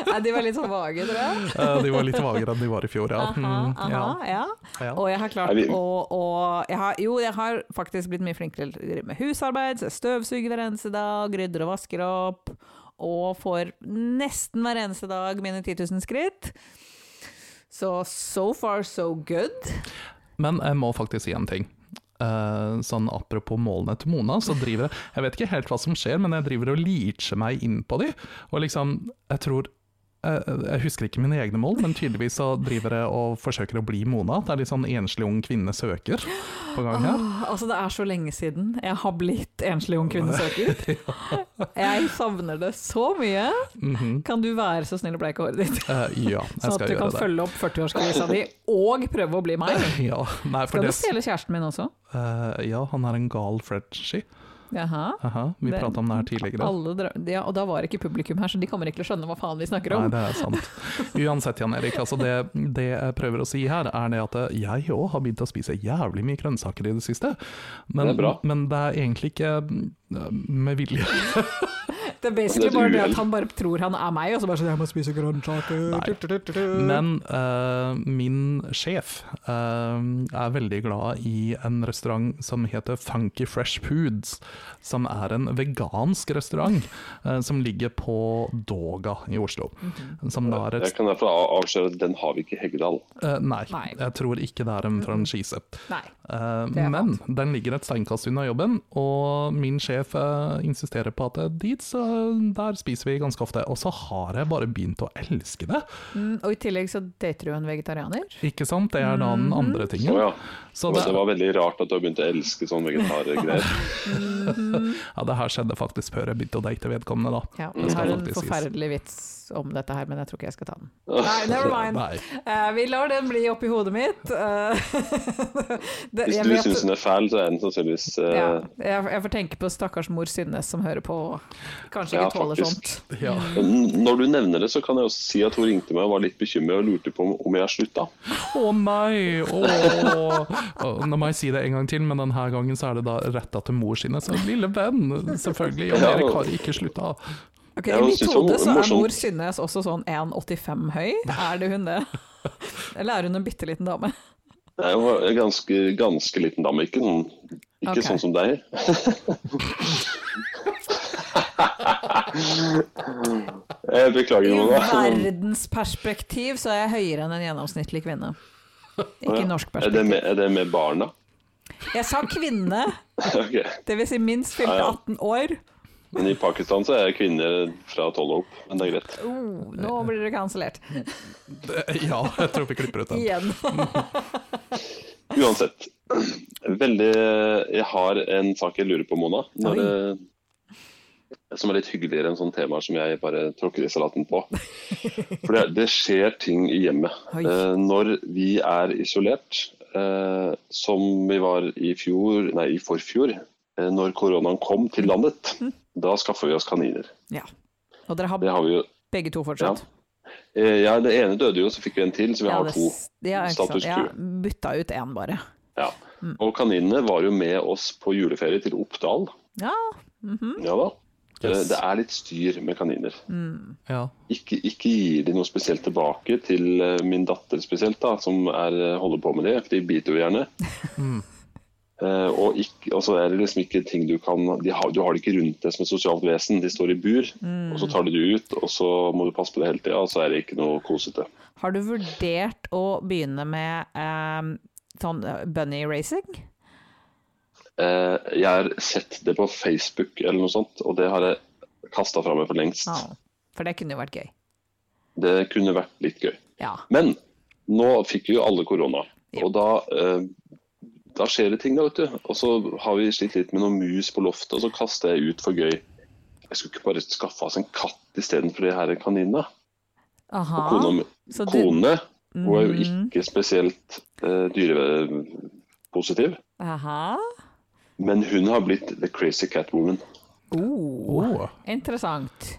Nei, De var litt sånn vage, tror jeg. Eh, De var litt vagere enn de var i fjor, ja. Aha, Mm, aha, ja. ja. Ja. Og jeg har klart Nei, vi- å, å jeg har, Jo, jeg har faktisk blitt mye flinkere til å drive med husarbeid. så jeg Støvsuger hver eneste dag, rydder og vasker opp. Og får nesten hver eneste dag mine 10 000 skritt. Så so far so good. Men jeg må faktisk si en ting. Eh, sånn Apropos målene til Mona, så driver jeg Jeg vet ikke helt hva som skjer, men jeg driver og leacher meg inn på de. Og liksom, jeg tror eh, jeg husker ikke mine egne mål, men tydeligvis så driver jeg og forsøker å bli Mona. Det er litt sånn enslig ung kvinne søker på gang her. Åh, Altså, det er så lenge siden jeg har blitt enslig ung kvinne søker. Jeg savner det så mye. Mhm. Kan du være så snill å bleike håret ditt? Eh, ja, jeg Sånn at skal du gjøre kan det. følge opp 40-årskrisa di og prøve å bli meg. Ja, nei, for Skal du det, stjele kjæresten min også? eh, ja, han har en gal Frenchie. Jaha. Aha, vi Det- prata om det her tidligere. Alle dra ja, og da var ikke publikum her, så de kommer ikke til å skjønne hva faen vi snakker Nei, om. det er sant. Uansett, Jan Erik, altså det, det jeg prøver å si her, er det at eh, jeg òg har begynt å spise jævlig mye grønnsaker i det siste. Men Det er bra. men det er egentlig ikke eh, med vilje. Det er Det basically er et bare det uhell. at han bare tror han er meg, og så bare sånn 'jeg må spise grønnsaker'. Men eh, min sjef eh, er veldig glad i en restaurant som heter Funky Fresh Foods, som er en vegansk restaurant eh, som ligger på Doga i Oslo. Mhm. Som da er et Jeg kan derfor av- avsløre at den har vi ikke i Heggedal. eh, nei, Nei. jeg tror ikke det er en franchise. sånn, Nei. Eh, Det er men den ligger et steinkast unna jobben, og min sjef sjef eh, insisterer på at eh, dit, så der spiser vi ganske ofte. Og så har jeg bare begynt å elske det. Mm, og i tillegg så dater du en vegetarianer. Ikke sant? Det er da den Mhm. andre Å tingen. ja. Så Men det, det var veldig rart at du har begynt å elske sånne vegetargreier. ja, det her skjedde faktisk før jeg begynte å date vedkommende, da. Ja, Det jeg skal har en faktisk sies. forferdelig vits om dette her, men jeg tror ikke jeg skal ta den. Nei, never mind. Nei. Eh, vi lar den bli oppi hodet mitt. Eh, det, Hvis jeg, du vet, syns den er fæl, så er den sannsynligvis eh, ja, jeg, jeg får tenke på stakkars mor Synnes som hører på og kanskje Ja, ikke tåler faktisk. sånt. Ja. N- Når du nevner det, så kan jeg også si at hun ringte meg og var litt bekymret og lurte på om- om jeg har slutta. Å nei! Åh. Åh, Nå må jeg si det en gang til, men denne gangen så er det da retta til mor sine. Så lille venn, selvfølgelig. Og Erik har ikke slutta. Ok, Ja, I jeg synes mitt det var hode så er morsomt. mor Synnes også sånn 1,85 høy. Er det hun det? Eller er hun en bitte liten dame? Nei, Jeg var en ganske, ganske liten dame, ikke sånn, ikke Ok. sånn som deg. jeg beklager, I Mona. verdensperspektiv så er jeg høyere enn en gjennomsnittlig kvinne. Ikke i norsk Er det, perspektiv. med, er det med barna? Jeg sa kvinne, Ok. dvs. Si minst fylte Ja, ja. 18 år. Men i Pakistan så er kvinner fra tolv og opp, men det er greit. Oh, nå blir dere kansellert. Ja, jeg tror vi klipper ut den. Igjen. Uansett. Veldig Jeg har en sak jeg lurer på, Mona. Når, det- som er litt hyggeligere enn sånne temaer som jeg bare tråkker i salaten på. For det, det skjer ting i hjemmet. Oi. Eh, når vi er isolert, eh, som vi var i fjor, nei, i forfjor, eh, når koronaen kom til landet, Hm. da skaffer vi oss kaniner. Ja. Og dere har Det har vi jo. begge to fortsatt? Eh, ja, det ene døde jo, så fikk vi en til, så vi har det, to. ja, ikke sant. Status Ja, quo. bytta ut én, bare. Ja. Og kaninene var jo med oss på juleferie til Oppdal. Ja. Ja da. Yes. Eh, Det er litt styr med kaniner. Ja. Ikke, ikke gir de noe spesielt tilbake til eh, min datter spesielt, da, som er, eh, holder på med det, for de biter jo gjerne. Eh, og, ikke, og så er det liksom ikke ting du kan de har, Du har det ikke rundt deg som et sosialt vesen. De står i bur, og så tar de det ut, og så må du passe på det hele tida, og så er det ikke noe kosete. Har du vurdert å begynne med ehm, sånn eh, bunny racing? Eh, jeg har sett det på Facebook eller noe sånt, og det har jeg kasta fra meg for lengst. Ja. For det kunne jo vært gøy. Det kunne vært litt gøy. Ja. Men nå fikk vi jo alle korona, Ja. og da, eh, da skjer det ting da, vet du. Og så har vi slitt litt med noen mus på loftet, og så kaster jeg ut for gøy. Jeg skulle ikke bare skaffe oss en katt istedenfor de her kaninene. Aha. Og kona, Så du- Mm. kone hun er jo ikke spesielt eh, dyrepositiv, Aha. men hun har blitt the crazy cat woman. Oh, Åh. interessant.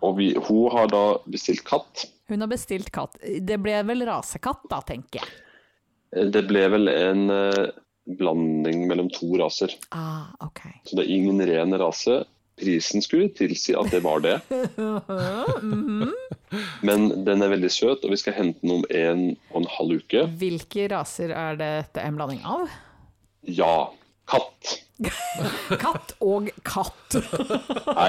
Og vi, hun har da bestilt katt. Hun har bestilt katt. Det ble vel rasekatt da, tenker jeg. Eh, Det ble vel en eh, blanding mellom to raser. Ah, ok. Så det er ingen ren rase. Prisen skulle tilsi at det var det. Men den er veldig søt, og vi skal hente den om en og en halv uke. Hvilke raser er dette en blanding av? Ja, katt. Katt og katt. Nei,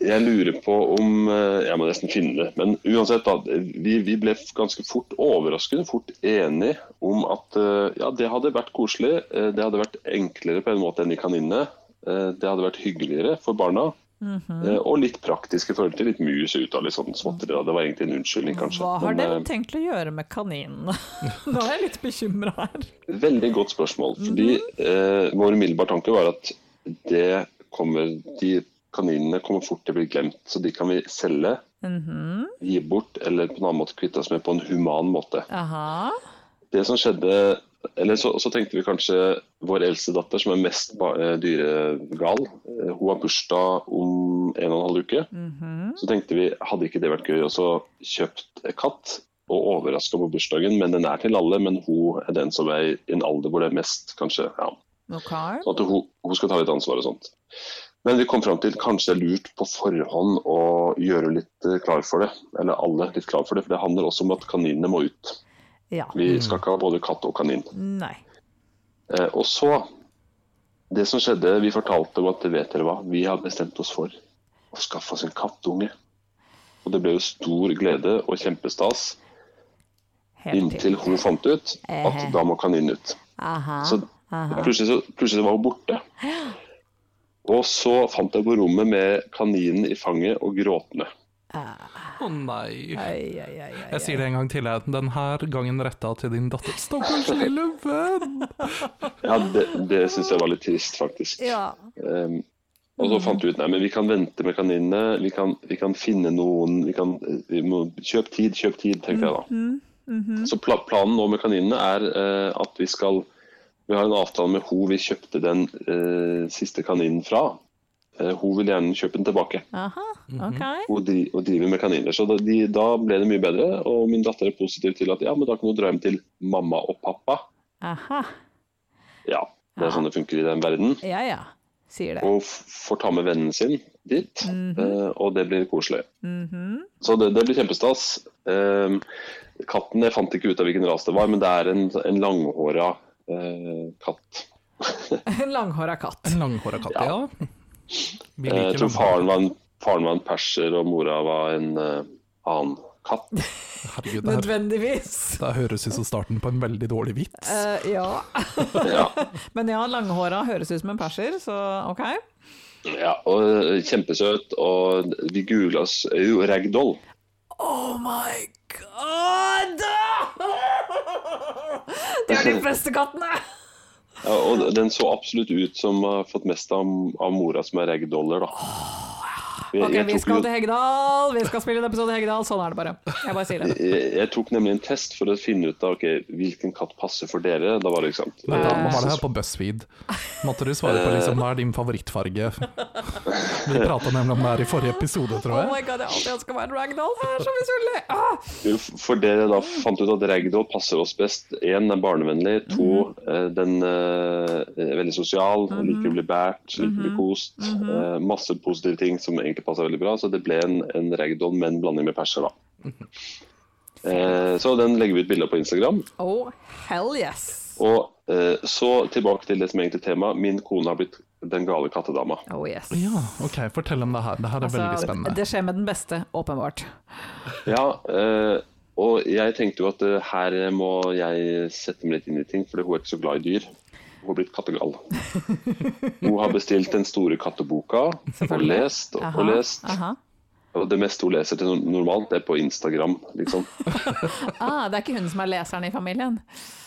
jeg lurer på om eh, Jeg må nesten finne det. Men uansett, da. Vi, vi ble ganske fort overraskende fort enige om at eh, ja, det hadde vært koselig. eh, Det hadde vært enklere på en måte enn i kaninene. eh, Det hadde vært hyggeligere for barna. Mhm. eh, Og litt praktiske forhold til litt mus ut av litt sånn småtteri. da. Det var egentlig en unnskyldning, kanskje. Hva har Men, dere eh, tenkt å gjøre med kaninene? Nå er jeg litt bekymra her. Veldig godt spørsmål. Fordi eh, Vår umiddelbare tanke var at det kommer, de kaninene kommer fort til å bli glemt. Så de kan vi selge, gi bort eller på en annen måte kvitte oss med på en human måte. Aha. Det som skjedde, eller så, så tenkte vi kanskje vår eldste datter, som er mest ba- eh, dyregal, eh, hun har bursdag om en og en halv uke. Mhm. Så tenkte vi, hadde ikke det vært gøy også kjøpt en katt? og overraska på bursdagen, men den er til alle. Men hun er den som er i en alder hvor det er mest, kanskje. Ja, Ok. Sånn at hun, hun skal ta litt ansvar og sånt. Men vi kom fram til kanskje det er lurt på forhånd å gjøre litt eh, klar for det. Eller alle litt klar for det, for det handler også om at kaninene må ut. Ja. Vi skal ikke ha både katt og kanin. Nei. Eh, og så Det som skjedde, vi fortalte om at vet dere hva, vi har bestemt oss for å skaffe oss en kattunge. Og det ble jo stor glede og kjempestas Helt til. inntil hun fant ut at da må kaninen ut. Eh. Aha. Så plutselig, så, plutselig så var hun borte. Og så fant jeg på rommet med kaninen i fanget og gråtende. Å nei. Ai, ai, ai, ai, Jeg sier det en gang til, jeg. Den her gangen retta til din datter. Stakkars lille venn! Ja, det, det syns jeg var litt trist, faktisk. Ja. Ehm, og så fant vi ut nei, men vi kan vente med kaninene, vi kan, vi kan finne noen vi kan, eh, vi må, Kjøp tid, kjøp tid, tenkte jeg da. Så pla planen nå med kaninene er eh, at vi skal Vi har en avtale med hun vi kjøpte den eh, siste kaninen fra. Eh, hun vil gjerne kjøpe den tilbake. Aha, Mhm. ok. Hun dri og driver med kaniner. Så da, de, da ble det mye bedre, og min datter er positiv til at ja, men da kan hun dra hjem til mamma og pappa. Aha. Ja, det er sånn det funker i den verden. Ja ja, sier det. og f- får ta med vennen sin dit, eh, og det blir koselig. Mhm. Så det, det blir kjempestas. Eh, katten, jeg fant ikke ut av hvilken ras det var, men det er en, en langhåra eh, katt. En langhåra katt. En langhåra katt, ja. Vi Eh, jeg liker tror langhåra. faren var, en, faren var en perser, og mora var en eh, annen katt. Herregud, det her, Nødvendigvis. det her høres ut som starten på en veldig dårlig vits. Eh, ja. Ja, Men ja, langhåra høres ut som en perser, så ok. ja og eh, Kjempesøt, og vi googla oss eh, jo, ragdoll. Oh my god! Det er de beste kattene! Ja, og den så absolutt ut som har fått mest av, av mora som er ragdoller, da. Jeg- Ok, jeg vi tok skal jo- til Heggedal, vi skal spille en episode i Heggedal. Sånn er det bare. Jeg bare sier det. jeg Eh, jeg tok nemlig en test for å finne ut av ok, hvilken katt passer for dere. Da var det ikke sant. Dette Det var var det masse Eh, her på BuzzFeed. Måtte du svare på liksom, hva er din favorittfarge? Vi prata nemlig om det her i forrige episode, tror Oh jeg. my god, jeg alltid ønska meg en ragdoll, jeg er så misunnelig! Ah, spørsmål. For dere da fant ut at ragdoll passer oss best. Én er barnevennlig, to eh, den eh, er veldig sosial, liker å bli båret, liker å bli kost. Eh, Masse positive ting som egentlig passer veldig bra. Så det ble en, en ragdoll med en blanding med perser, da. Eh, Så den legger vi ut bilder på Instagram. Oh hell yes! Og eh, så tilbake til det som egentlig er temaet. Min kone har blitt den gale kattedama. Oh yes. Ja, OK, fortell om det her. Det her er veldig spennende. Altså, det skjer med den beste, åpenbart. Ja, eh, og jeg tenkte jo at eh, her må jeg sette meg litt inn i ting, for hun er ikke så glad i dyr. Hun har blitt kattegal. Hun har bestilt den store katteboka og lest og, Aha, og lest. aha. Og det meste hun leser til no- normalt, det er på Instagram, liksom. Ah, det er ikke hun som er leseren i familien.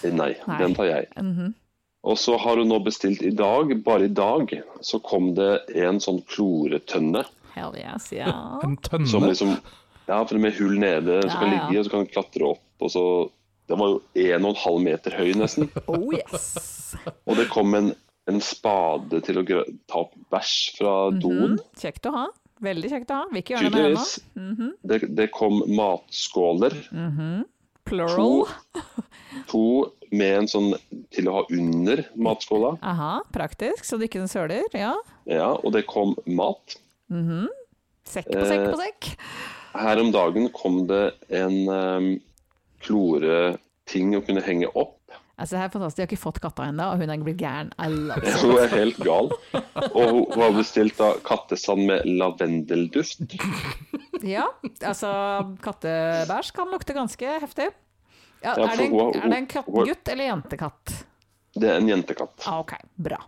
Eh, Nei, Nei. Mhm. den tar jeg. Og så har hun nå bestilt i dag, bare i dag, så kom det en sånn kloretønne Hell yes, ja. En som tønne? liksom Ja, for med hull nede, så kan Ja, ja. ligge, og så kan du klatre opp, og så Den var jo 1,5 meter høy, nesten. Oh yes. Og det kom en, en spade til å grø ta opp bæsj fra doen, Kjekt å ha. Veldig kjekt å ha. Vil ikke gjøre det med henne. tydeligvis. det, det kom matskåler, Plural. to med en sånn til å ha under matskåla, Aha, praktisk, så du ikke den søler. Ja. ja, og det kom mat. Sekk på sekk Eh. på sekk. Her om dagen kom det en um, kloreting å kunne henge opp. Altså, det her er fantastisk. De har ikke fått katta ennå, og hun er blitt gæren. I love it. Hun er helt gal. Og hun, hun har bestilt da kattesand med lavendelduft. Ja, altså, kattebæsj kan lukte ganske heftig. Ja, Ja, altså, er, det en, for hun- er det en hun- kattgutt eller jentekatt? Det er en jentekatt. Ah, ok, bra.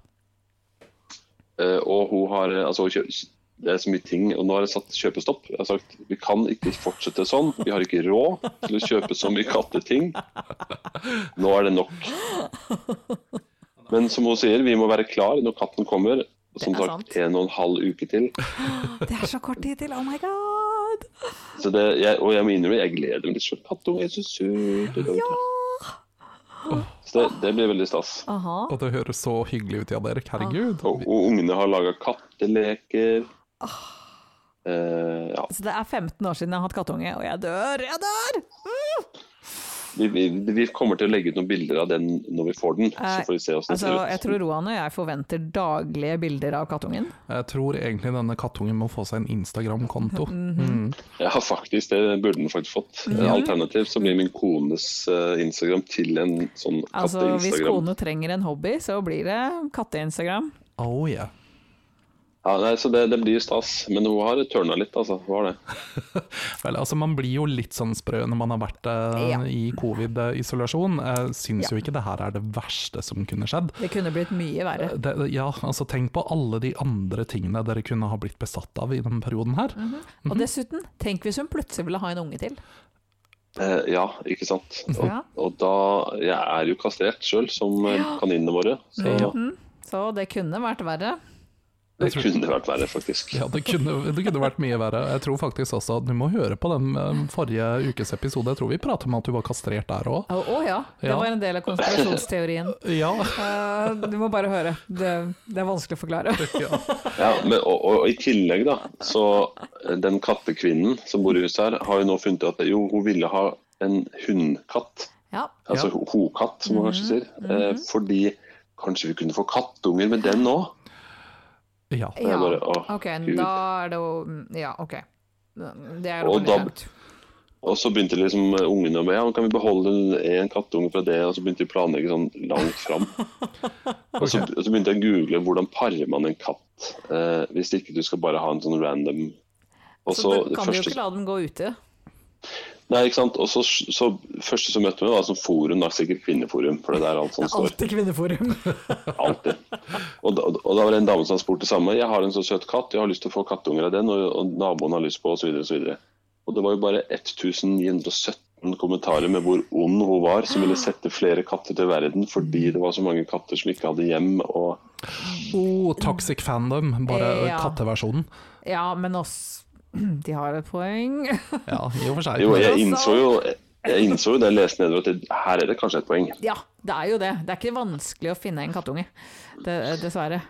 Eh, og hun har eh, altså, hun kjø- det er så mye ting, og nå har jeg satt kjøpestopp. Jeg har sagt vi kan ikke fortsette sånn. Vi har ikke råd til å kjøpe så mye katteting. Nå er det nok. Men som hun sier, vi må være klar når katten kommer. Som Det er sagt, en og en halv uke til. Det er så kort tid til, oh my god! Så det, jeg, og jeg må innrømme, jeg gleder meg litt. for Kattunge er så søt. Så det, det blir veldig stas. Aha. Og det høres så hyggelig ut, Jan Erik. Herregud. Og, og ungene har laga katteleker. Eh, ja. Så det er 15 år siden jeg har hatt kattunge, og jeg dør, jeg dør! Mm! Vi, vi, vi kommer til å legge ut noen bilder av den når vi får den. Så får vi se hvordan det Altså, jeg ser ut. tror Roan og jeg forventer daglige bilder av kattungen. Jeg tror egentlig denne kattungen må få seg en Instagram-konto. Mhm. Ja, faktisk, det burde den faktisk fått. Alternativt så blir min kones eh, Instagram til en sånn Altså, hvis katte-Instagram. kone trenger en hobby, så blir det katte-Instagram. Oh yeah. Ja, nei, så det, det blir stas. Men hun har tørna litt, altså. Hun har det. Vel, altså Man blir jo litt sånn sprø når man har vært eh, Ja. i covid-isolasjon. Jeg syns Ja. jo ikke det her er det verste som kunne skjedd. Det kunne blitt mye verre. Det, ja, altså Tenk på alle de andre tingene dere kunne ha blitt besatt av i denne perioden her. Og dessuten, tenk hvis hun plutselig ville ha en unge til. Eh, ja, ikke sant. Og, Ja. og da Jeg er jo kastrert sjøl, som eh, kaninene våre. Så Ja. Så det kunne vært verre. det kunne vært verre, faktisk. Ja, det kunne, det kunne vært mye verre. Jeg tror faktisk også at Du må høre på den eh, forrige ukes episode, jeg tror vi prater om at du var kastrert der òg. Å å ja, det Ja. var en del av konspirasjonsteorien. Ja. Eh, du må bare høre. Det, det er vanskelig å forklare. ja. Ja, men, og, og, og i tillegg, da, så eh, den kattekvinnen som bor i huset her, har jo nå funnet ut at jo, hun ville ha en hundkatt. Ja, Mhm. Altså Ja. ho- hokatt, som man kanskje sier. Eh, fordi kanskje vi kunne få kattunger med den òg? ja. Det er ja. bare, å, Ok, Gud. da er det jo mm, Ja, ok. Det er jo Og veldig da- skjønt. Og så begynte liksom eh, ungene med ja, kan vi beholde en kattunge fra det, og så begynte de å planlegge sånn langt fram. og, så, og så begynte jeg å google hvordan parer man en katt, eh, hvis ikke du skal bare ha en sånn random og Så du det kan jo første- ikke la dem gå ute. Nei, ikke sant. Og så, så første som møtte meg, var sånn forum, da, sikkert kvinneforum, for det der alt sånn står. Alltid Kvinneforum. Alltid. Og da, og da var det en dame som spurte det samme. 'Jeg har en så søt katt, jeg har lyst til å få kattunger av den', og, og naboen har lyst på, osv., osv. Og det var jo bare 1917 kommentarer med hvor ond hun var, som ville sette flere katter til verden fordi det var så mange katter som ikke hadde hjem. og... Oh, toxic fandom, bare Eh, Ja. katteversjonen. Ja, men oss De har et poeng. Ja, i og for seg. Jo, det er jeg sant. innså jo, jeg innså jo da jeg leste nedover at det, her er det kanskje et poeng. Ja, det er jo det. Det er ikke vanskelig å finne en kattunge, det, dessverre.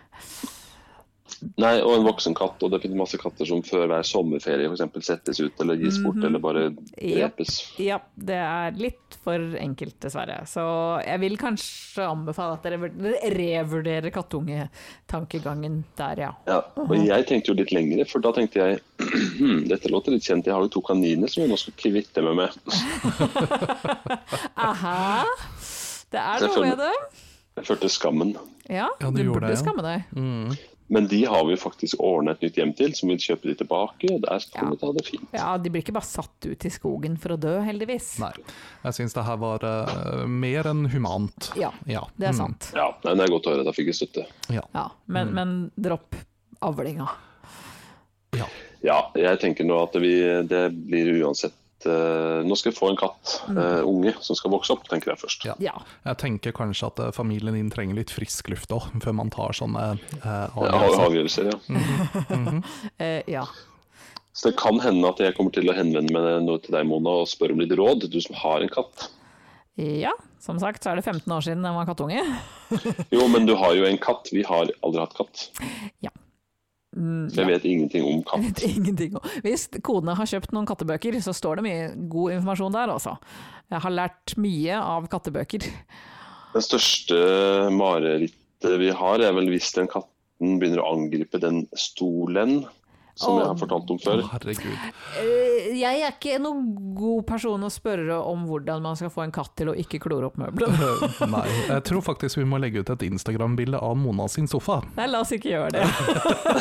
Nei, og en voksen katt, og det finnes masse katter som før hver sommerferie for eksempel, settes ut eller gis bort eller bare drepes. Ja, det er litt for enkelt, dessverre. Så jeg vil kanskje anbefale at dere vur- dere revurderer kattungetankegangen der, ja. Ja, og jeg tenkte jo litt lengre, for da tenkte jeg dette låter litt kjent, jeg har jo to kaniner som jeg nå skal kvitte meg med. Aha! Det er sånn- noe med det. Jeg følte skammen. Ja, Ja, du, du gjorde burde det, ja. Mm. skamme deg. Men de har vi faktisk ordna et nytt hjem til, som vil kjøpe de tilbake. og Der skal Ja. vi ta det fint. Ja, de blir ikke bare satt ut i skogen for å dø, heldigvis. Nei, jeg syns det her var eh, mer enn humant. Ja, ja. det er Mm, sant. Ja, nei, det er godt å høre, da fikk jeg støtte. Ja. Ja, men, men dropp avlinga. Ja. Ja, jeg tenker nå at vi, det blir uansett eh, Nå skal jeg få en katt, eh, unge, som skal vokse opp, tenker jeg først. Ja. Ja. Jeg tenker kanskje at eh, familien din trenger litt frisk luft òg, før man tar sånne eh, Ja, avgjørelser. Mm. avgjørelser, ja. Eh, ja. Så det kan hende at jeg kommer til å henvende meg nå til deg, Mona, og spørre om litt råd, du som har en katt. ja, som sagt så er det 15 år siden jeg var kattunge. Jo, men du har jo en katt. Vi har aldri hatt katt. Ja. Mm, Så jeg vet ingenting om katt. vet ingenting om. Hvis kodene har kjøpt noen kattebøker, så står det mye god informasjon der, altså. Jeg har lært mye av kattebøker. Det største marerittet vi har, er vel hvis den katten begynner å angripe den stolen som jeg har fortalt om før. Herregud. Eh, Jeg er ikke noen god person å spørre om hvordan man skal få en katt til å ikke klore opp møblene. Eh, Nei, jeg tror faktisk vi må legge ut et Instagram-bilde av Mona sin sofa. Nei, la oss ikke gjøre det.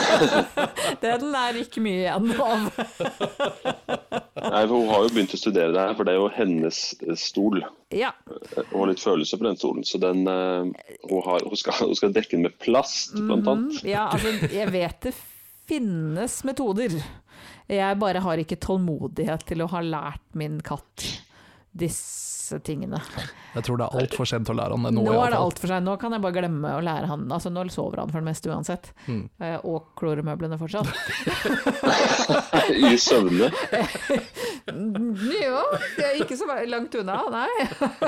Den er ikke mye igjen av. Nei, for Hun har jo begynt å studere det her, for det er jo hennes eh, stol. Ja, Hun har litt følelse på den stolen, så den, eh, hun, har, hun, skal, hun skal dekke den med plast, blant annet. ja altså, jeg vet det finnes metoder. Jeg bare har ikke tålmodighet til å ha lært min katt disse tingene. Jeg tror det er altfor sent å lære han det nå. i Nå alle er det fall. altfor seg. Nå kan jeg bare glemme å lære han Altså, nå sover han for det meste uansett. Mm. Eh, og kloremøblene fortsatt. I søvne. jo, det er ikke så langt unna, nei.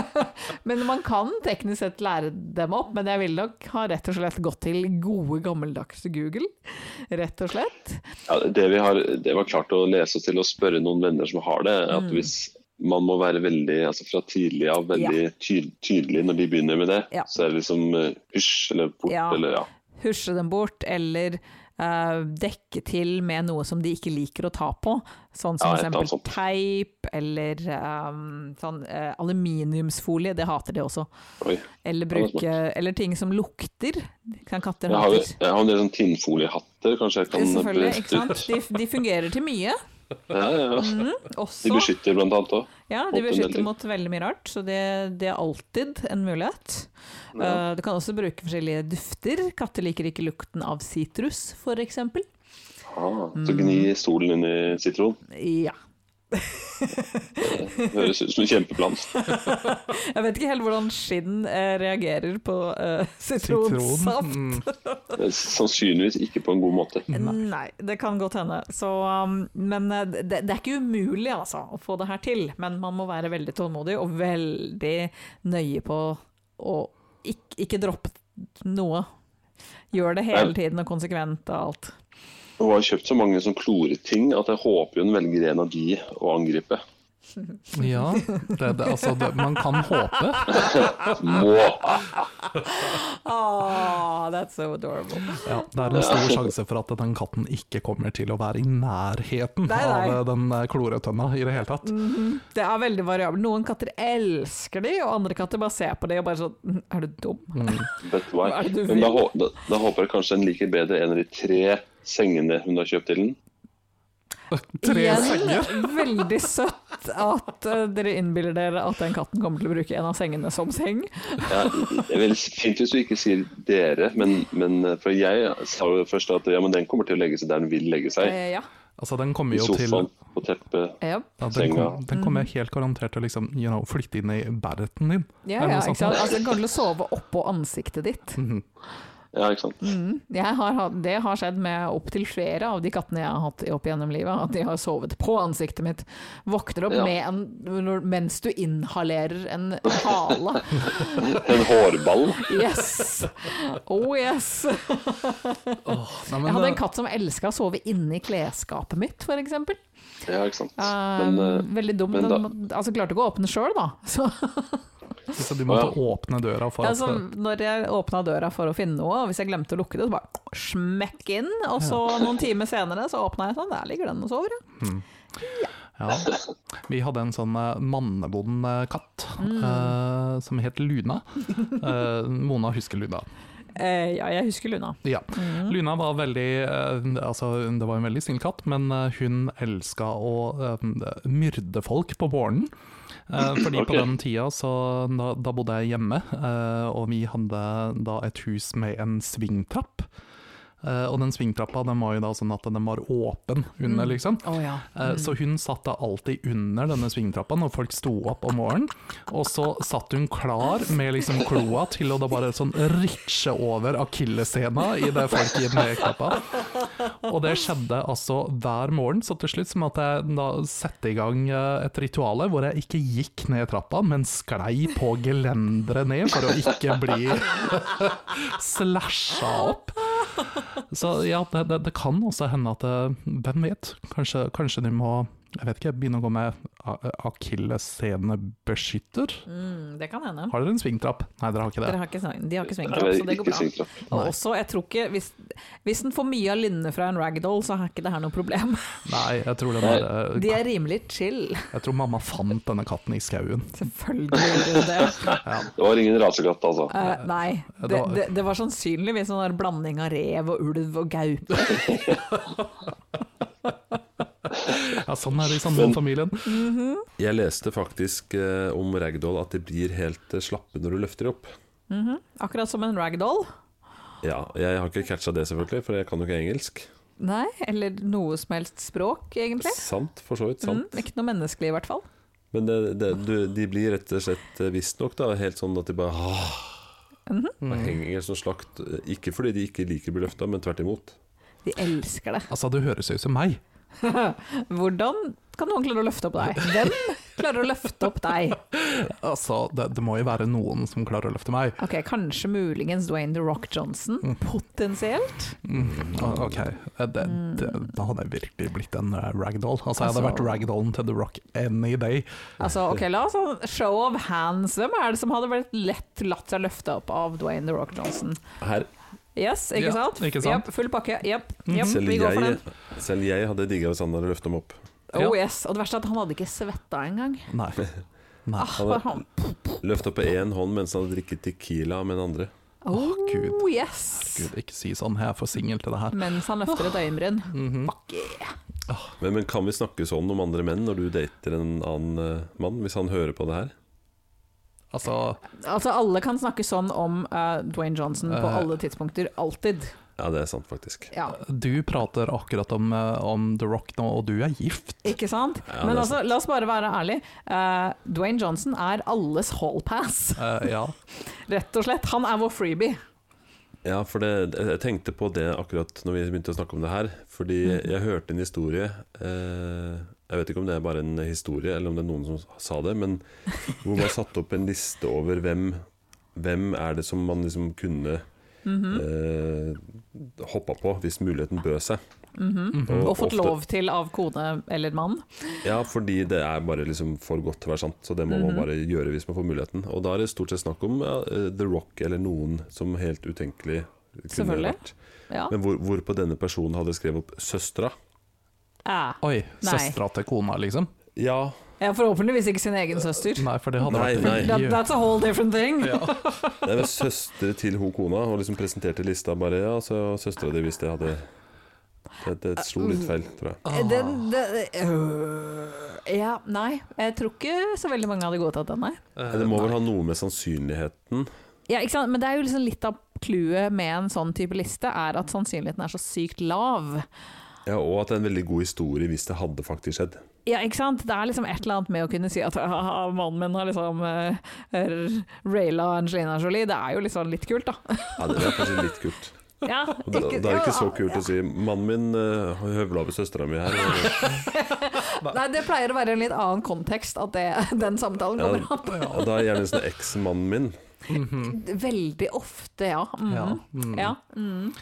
men man kan teknisk sett lære dem opp, men jeg ville nok ha rett og slett gått til gode, gammeldagse Google. Rett og slett. Ja, det vi har, det var klart å lese oss til og spørre noen venner som har det, er Mm. at hvis man må være veldig, altså fra tidlig av veldig ty tydelig når de begynner med det, Ja. så er det liksom eh, hysj eller bort Ja. eller ja. Husje dem bort, eller eh, dekke til med noe som de ikke liker å ta på, sånn som Ja, et for eller annet eksempel sånt. teip eller eh, sånn eh, aluminiumsfolie, det hater de også. Oi. Eller, det er bruke, eller ting som lukter. Kan katter Jeg har, hater? jeg har en del sånn tinnfoliehatter, kanskje jeg kan Selvfølgelig, ikke sant. Mm, De, de fungerer til mye. Ja, ja, ja. De Også, beskytter blant annet òg. ja, mot en de del beskytter ting. mot veldig mye rart, så det, det er alltid en mulighet. Eh, du kan også bruke forskjellige dufter. Katter liker ikke lukten av sitrus, f.eks. Ah, så Mm. gni solen inn i sitron. Ja. Høres ut som en kjempeplan. Jeg vet ikke helt hvordan skinn eh, reagerer på eh, sitronsaft. Sitron. Mm. Sannsynligvis ikke på en god måte. Mm, Nei. det kan godt hende. Så, um, men eh, det, det er ikke umulig altså, å få det her til. Men man må være veldig tålmodig og veldig nøye på å ikke, ikke droppe noe. Gjør det hele Nei. tiden og konsekvent og alt. Hun har kjøpt så mange sånn kloreting at jeg håper hun velger en av de å angripe. Mm. Ja, det, det, altså, det, man kan håpe. Må! Ah, that's so adorable. Ja, det er en stor sjanse for at den katten ikke kommer til å være i nærheten Nei, nei. Mm. av eh, den eh, kloretønna i det hele tatt. Det er veldig variabelt. Noen katter elsker de, og andre katter bare ser på de og bare sånn Er du dum? Vet du hva? Hva er det du Men da, vil? hå- da, da håper jeg kanskje den liker bedre en av de tre sengene hun har kjøpt til den. Tre Igjen, senger. Veldig søtt at eh, dere innbiller dere at den katten kommer til å bruke en av sengene som seng. Ja, det er vel fint hvis du ikke sier dere, men, men eh, for jeg sa jo først at ja, men den kommer til å legge seg der den vil legge seg. Eh, ja. Altså, den I kommer jo til sofaen, på teppet. Yep. ja, den, kom, senga. den kommer Mm. helt garantert til å liksom, you know, flytte inn i bæreten din. Ja, Er det noe ja, sånt Mhm. ikke sant? Altså, den kommer til å sove oppå ansiktet ditt. Mm. Mm. Ja, ikke sant. Jeg har, hatt- det har skjedd med opptil flere av de kattene jeg har hatt opp gjennom livet, at de har sovet på ansiktet mitt. Våkner opp Ja. med en, når- mens du inhalerer en hale. En hårball. Yes! Oh yes! Nei, men, Jeg hadde en eh, katt som elska å sove inni klesskapet mitt, f.eks. Ja, ikke sant. Men Uh, eh, veldig dum. men da- Den, altså, klarte ikke å åpne sjøl, da. Så, Så du måtte Å, åpne døra for at eh, altså, når jeg åpna døra for å finne noe, og hvis jeg glemte å lukke det, så bare smekk inn. Og så noen timer senere så åpna jeg sånn, der ligger den og sover, ja. Ja. Vi hadde en sånn eh, mannebond eh, katt eh, som het Luna. Eh, Mona husker Luna. Eh, ja, jeg husker Luna. Ja. Luna var veldig eh, Altså, det var en veldig snill katt, men eh, hun elska å eh, myrde folk på morgenen. Eh, fordi Ok. på den tida så da, da bodde jeg hjemme, eh, og vi hadde da et hus med en svingtrapp. Eh, og den svingtrappa den var jo da sånn at den var åpen under, liksom. Å ja. Eh, Så hun satt da alltid under denne svingtrappa når folk sto opp om morgenen. Og så satt hun klar med liksom kloa til å da bare sånn ritsje over akilleshæla i det folk i den trappa. Og det skjedde altså hver morgen, så til slutt så måtte jeg da sette i gang eh, et rituale hvor jeg ikke gikk ned trappa, men sklei på gelenderet ned for å ikke bli slasha opp. Så ja, det, det, det kan også hende at eh, Hvem vet? Kanskje, kanskje de må jeg vet ikke, begynne å gå med a- eh, akillessenebeskytter? Mm, det kan hende. Har dere en svingtrapp? Nei, dere har ikke Dere det. har ikke, sving- de har ikke jeg svingtrapp, vet så det går ikke bra. sikkert. Og også, jeg tror ikke, hvis, hvis den får mye av lynnet fra en ragdoll, så er ikke det her noe problem. Nei, jeg tror, den er, eh, De er rimelig chill. jeg tror mamma fant denne katten i skauen. Selvfølgelig gjør de det. Det var ingen rasekatt, altså. Eh, nei, Ja, det, det var- det, det var sannsynligvis en sånn der blanding av rev og ulv og gaupe. Ja, sånn er det i samboerfamilien. Jeg leste faktisk eh, om ragdoll at de blir helt eh, slappe når du løfter de opp. Akkurat som en ragdoll. Ja, jeg har ikke catcha det, selvfølgelig, for jeg kan jo ikke engelsk. Nei, eller noe som helst språk, egentlig. Sant, for så vidt. Mm, sant ikke noe menneskelig, i hvert fall. Men det, det, du, de blir rett og slett eh, visstnok da, helt sånn at de bare ah, Mhm. og henger sånn som slakt. eh, Ikke fordi de ikke liker å bli løfta, men tvert imot. De elsker det. Altså, det høres ut som meg. Hvordan kan noen klare å løfte opp deg? Hvem klarer å løfte opp deg? Altså, det, det må jo være noen som klarer å løfte meg. Ok, kanskje muligens Dwayne The Rock Mm. Johnson, potensielt. Å, Ok, Eh, det, det, Da hadde jeg virkelig blitt en eh, ragdoll. Altså, jeg hadde Mm. Altså- vært ragdollen til The Rock any day. Altså, ok, la oss ha en show of hands. Hvem er det som hadde blitt lett latt seg løfte opp av Dwayne The Rock Johnson? Her Yes, ikke Ja, sant? ikke sant? Japp, full pakke. Japp, Mhm. japp, Selv Mm, vi går for jeg, den. selv jeg hadde digga hvis han hadde løftet dem opp. eh, Oh yes. Og det verste er at han hadde ikke svetta engang. Nei. Nei. Ah, Han bare hadde- han. Løfta på én hånd mens han hadde drikket Tequila med den andre. Oh, Gud. yes. Gud, ikke si sånn. Jeg er for singel til det her. Mens han løfter et øyenbryn. Mhm. Fuck yeah. Men, men kan vi snakke sånn om andre menn når du dater en annen eh, mann, hvis han hører på det her? Altså, Altså, alle kan snakke sånn om eh, Dwayne Johnson på Eh. alle tidspunkter. Alltid. Ja, det er sant, faktisk. Ja. du prater akkurat om, eh, om The Rock nå, og du er gift. Ikke sant? Ja, det Men er altså, la oss bare være ærlige. Eh, Dwayne Johnson er alles hallpass, Eh, ja. rett og slett. Han er vår freebie. Ja, for det, jeg jeg tenkte på det akkurat når vi begynte å snakke om det her. Fordi Mm. jeg hørte en historie eh, Jeg vet ikke om det er bare en historie, eller om det er noen som sa det, men hvor man satte opp en liste over hvem, hvem er det som man liksom kunne Mm. Mhm, eh, hoppa på hvis muligheten bød seg. mhm. Mm. Og fått ofte- lov til av kone eller mann. Ja, fordi det er bare liksom for godt til å være sant. Så det må man Mm-hmm. bare gjøre hvis man får muligheten. Og da er det stort sett snakk om ja, eh, The Rock eller noen som helt utenkelig kunne Selvfølgelig. vært. Ja. Men hvor, hvorpå denne personen hadde skrevet opp søstera. Eh. Oi, Nei. søstera til kona, liksom? Ja, Ja, forhåpentligvis ikke sin egen søster. Nei, for det hadde Nei, vært nei. That, that's a whole different thing. det var søstre til ho kona, og liksom presenterte lista bare. Ja, så søstera di hvis det hadde det, det slo litt feil, tror jeg. Det, det, øh, ja, nei. Jeg tror ikke så veldig mange hadde godtatt den, nei. Men Eh, Det må vel ha noe med sannsynligheten Ja, ikke sant? Men det er jo liksom litt av clouet med en sånn type liste, er at sannsynligheten er så sykt lav. Ja, Og at det er en veldig god historie hvis det hadde faktisk skjedd. Ja, ikke sant? Det er liksom et eller annet med å kunne si at «Haha, mannen min har liksom eh, r- raila Angelina Jolie. Det er jo liksom litt kult, da. Ja, Det er kanskje litt kult. Ja, Og Da, da er det ikke så ja, kult liksom. å si 'mannen min uh, høvla over søstera mi her'. og- Nei, det pleier å være en litt annen kontekst at det, den samtalen Ja, kommer opp. ja, da er gjerne sånn eksmannen min. Veldig ofte, ja. Mhm. Mhm. Ja, mm. ja. mhm.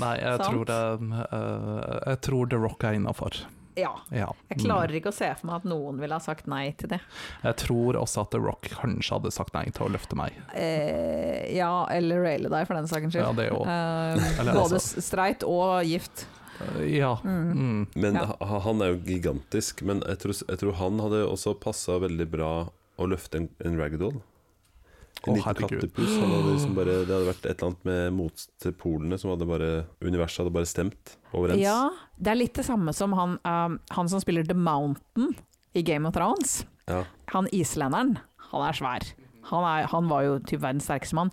Nei, jeg Sant. tror, det, eh, jeg tror The Rock er innafor. ja. Ja. Jeg Mm. klarer ikke å se for meg at noen ville ha sagt nei til det. Jeg tror også at The Rock kanskje hadde sagt nei til å løfte meg. Eh, ja, eller raile deg, for den sakens skyld. Ja, det òg. Eh, Eller både altså- s- streit og gift. Ja. Mm. Men Ja. ha- han er jo gigantisk. Men jeg tror, jeg tror han hadde også passa veldig bra å løfte en, en ragdoll. En Å, liten herregud. kattepus. Han hadde liksom bare, det hadde vært et eller annet med motpolene som hadde bare Universet hadde bare stemt overens. Ja, det er litt det samme som han, eh, han som spiller The Mountain i Game of Thrones. Ja. Han islenderen, han er svær. Han, er, han var jo typ verdens sterkeste mann.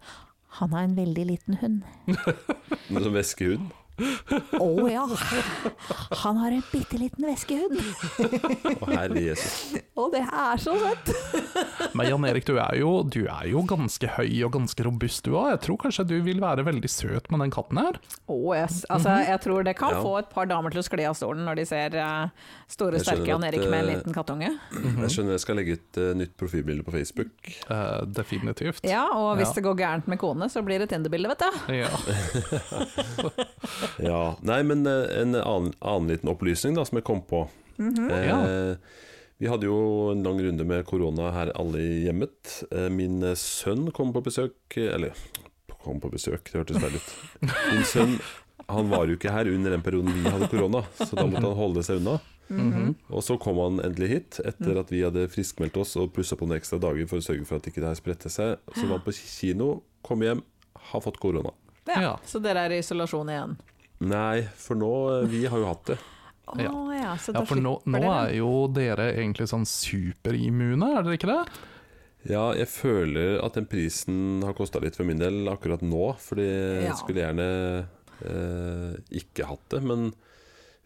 Han er en veldig liten hund. Men Som væskehund. Å ja! Han har en bitte liten veskehund. Å, herre Jesus. Og det er så søtt! Men Jan Erik, du er, jo, du er jo ganske høy og ganske robust du òg. Jeg tror kanskje du vil være veldig søt med den katten her. Oh, yes. altså, jeg tror det kan Ja. få et par damer til å skli av stolen når de ser eh, store, Jeg skjønner sterke Jan at, Erik med en eh, liten kattunge. Jeg skjønner jeg skal legge ut eh, nytt profilbilde på Facebook. Eh, definitivt. Ja, og hvis Ja. det går gærent med kone, så blir det Tinder-bilde, vet du. Ja. Ja, Nei, men eh, en annen, annen liten opplysning da, som jeg kom på. eh, Ja. Vi hadde jo en lang runde med korona her alle i hjemmet. Eh, min eh, sønn kom på besøk eh, Eller kom på besøk, det hørtes feil ut. Min sønn han var jo ikke her under den perioden vi hadde korona, så da måtte han holde seg unna. Mhm. Mhm. Og så kom han endelig hit, etter at vi hadde friskmeldt oss og plussa på noen ekstra dager for å sørge for at ikke det her spredte seg. Så var han på kino, kom hjem, har fått korona. Ja. Ja. Så dere er i isolasjon igjen. Nei, for nå eh, Vi har jo hatt det. Å Ja. ja. så da ja, for nå, slipper nå dere. er jo dere egentlig sånn superimmune, er dere ikke det? Ja, jeg føler at den prisen har kosta litt for min del akkurat nå. Fordi Ja. jeg skulle gjerne eh, ikke hatt det. Men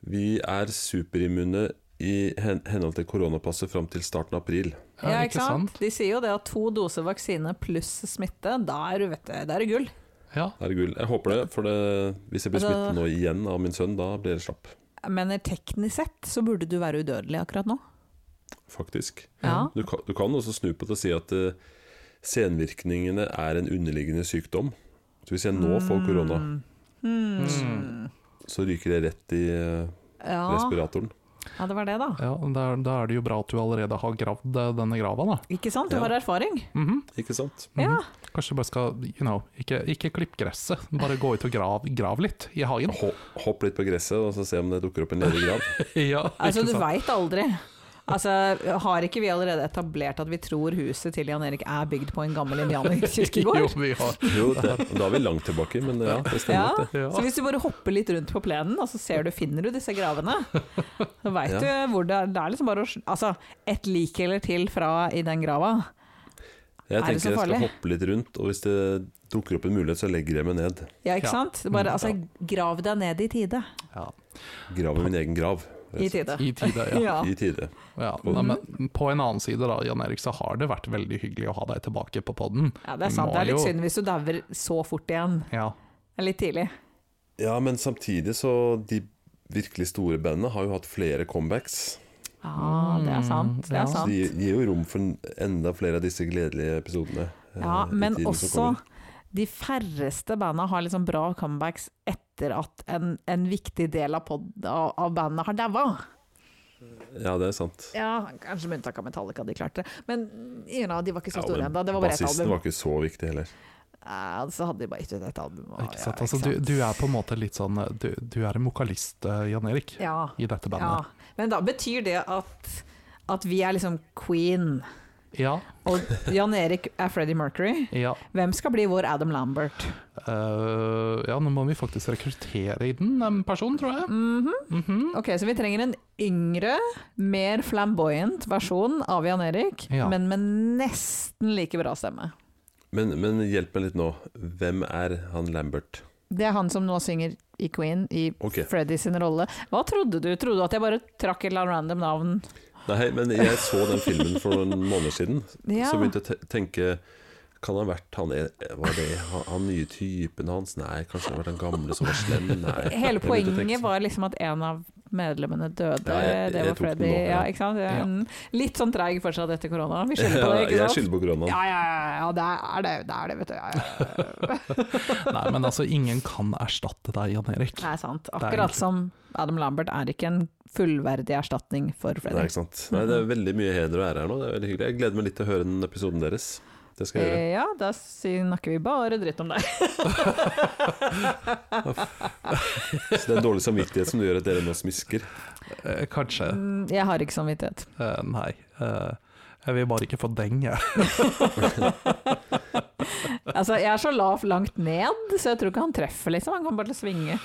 vi er superimmune i hen henhold til koronapasset fram til starten av april. Ja, ikke sant? De sier jo det at to doser vaksine pluss smitte, da er du, vet du, da er det gull. Ja. Herregud, jeg håper det. For det, hvis jeg blir Altså- smittet nå igjen av min sønn, da blir jeg slapp. Men teknisk sett så burde du være udødelig akkurat nå. Faktisk. Ja. Du, kan, du kan også snu på det og si at eh, senvirkningene er en underliggende sykdom. Så hvis jeg nå får Mm. Hmm. korona, så ryker det rett i eh, Ja. respiratoren. Ja, det var det, da. Ja, da, da er det jo bra at du allerede har gravd eh, denne grava, da. Ikke sant? Du Ja. har erfaring. Mhm. Ikke sant? Ja. Kanskje du bare skal, you know, ikke, ikke klipp gresset, bare gå ut og grav, grav litt i hagen. Ho- Hopp litt på gresset og så se om det dukker opp en ledig grav. Ja, Altså, ikke du sant? veit aldri. Altså, Har ikke vi allerede etablert at vi tror huset til Jan Erik er bygd på en gammel Jo, indianerkirkegård? vi har Jo, det, da er vi langt tilbake, men ja, det Ja, stemmer. nok, Ja. så hvis du bare hopper litt rundt på plenen, og så ser du, finner du disse gravene, så veit Ja. du hvor det er. Det er liksom bare å sl- Altså, et lik eller til fra i den grava. det. Jeg Er det så tenker jeg skal farlig? hoppe litt rundt, og hvis det dukker opp en mulighet, så legger jeg meg ned. Ja, Ja. ikke sant? Bare, Mm, altså, grav deg ned i tide. ja. Graver min egen grav. I tide. I tide, ja. Ja. I tide. ja. Nei, men på en annen side, da, Jan Erik, så har det vært veldig hyggelig å ha deg tilbake på podden. ja, det er Vi sant. må Det er litt jo- synd hvis du dauer så fort igjen. Ja. Det er Litt tidlig. Ja, men samtidig så De virkelig store bandene har jo hatt flere comebacks. Ja, det er sant. Det ja. er Så sant. de gir jo rom for enda flere av disse gledelige episodene. eh, Ja, i men tiden som også kommer. de færreste banda har liksom bra comebacks etter at en, en viktig del av, pod, av, av bandet har daua. Ja, det er sant. Ja, kanskje med unntak av Metallica, de klarte det. Men you know, de var ikke så Ja, store men ennå. Det var bare ett Bassisten album. var ikke så viktig heller. Ja, så hadde de bare gitt ut ett album. og- Ikke sant? ja, Altså, du, du er på en måte litt sånn Du, du er en vokalist, eh, Jan Erik, Ja. i dette Ja, bandet. men da betyr det at, at vi er liksom queen, Ja. og Jan Erik er Freddie Mercury. Ja. Hvem skal bli vår Adam Lambert? Eh, ja, nå må vi faktisk rekruttere i den en person, tror jeg. Mhm. Mhm. Ok, Så vi trenger en yngre, mer flamboyant versjon av Jan Erik, Ja. men med nesten like bra stemme. Men, men hjelp meg litt nå. Hvem er han Lambert? Det er han som nå synger i Queen, i Ok. Freddy sin rolle. Hva trodde du? Trodde du at jeg bare trakk et eller annet random navn? Nei, men jeg så den filmen for noen måneder siden, Ja. så begynte jeg å te- tenke kan det ha vært han, e, er- var det han, han nye typen hans? Nei, kanskje det har vært han gamle som var slem? Nei. Hele Jeg begynte å tenke poenget sånn. var liksom at en av medlemmene døde. Ja, jeg- det jeg var tok den Freddy. nå, ja. Ja, ikke sant? Ja. Ja. mm. Litt sånn treig fortsatt etter korona. Vi skylder på det, Ja, ikke jeg sant? skylder på Grønland. Ja, ja, ja, ja, det er det, det, er det vet du. Ja, ja, ja. Nei, men altså, ingen kan erstatte deg, Jan Erik. Det er sant. er Akkurat egentlig- som Adam Lambert er ikke en fullverdig erstatning for Nei, Freddy. ikke sant? Nei, det er veldig mye heder og ære her nå. Det er veldig hyggelig. Jeg gleder meg litt til å høre den episoden deres. Det skal jeg gjøre. Eh, Ja, da snakker vi bare dritt om deg. Så det er dårlig samvittighet som gjør at dere nå smisker. Eh, kanskje. Mm, Jeg har ikke samvittighet. Eh, nei. Eh, jeg vil bare ikke få deng, jeg. Altså, jeg er så lav langt ned, så jeg tror ikke han treffer, liksom. Han kommer bare til å svinge.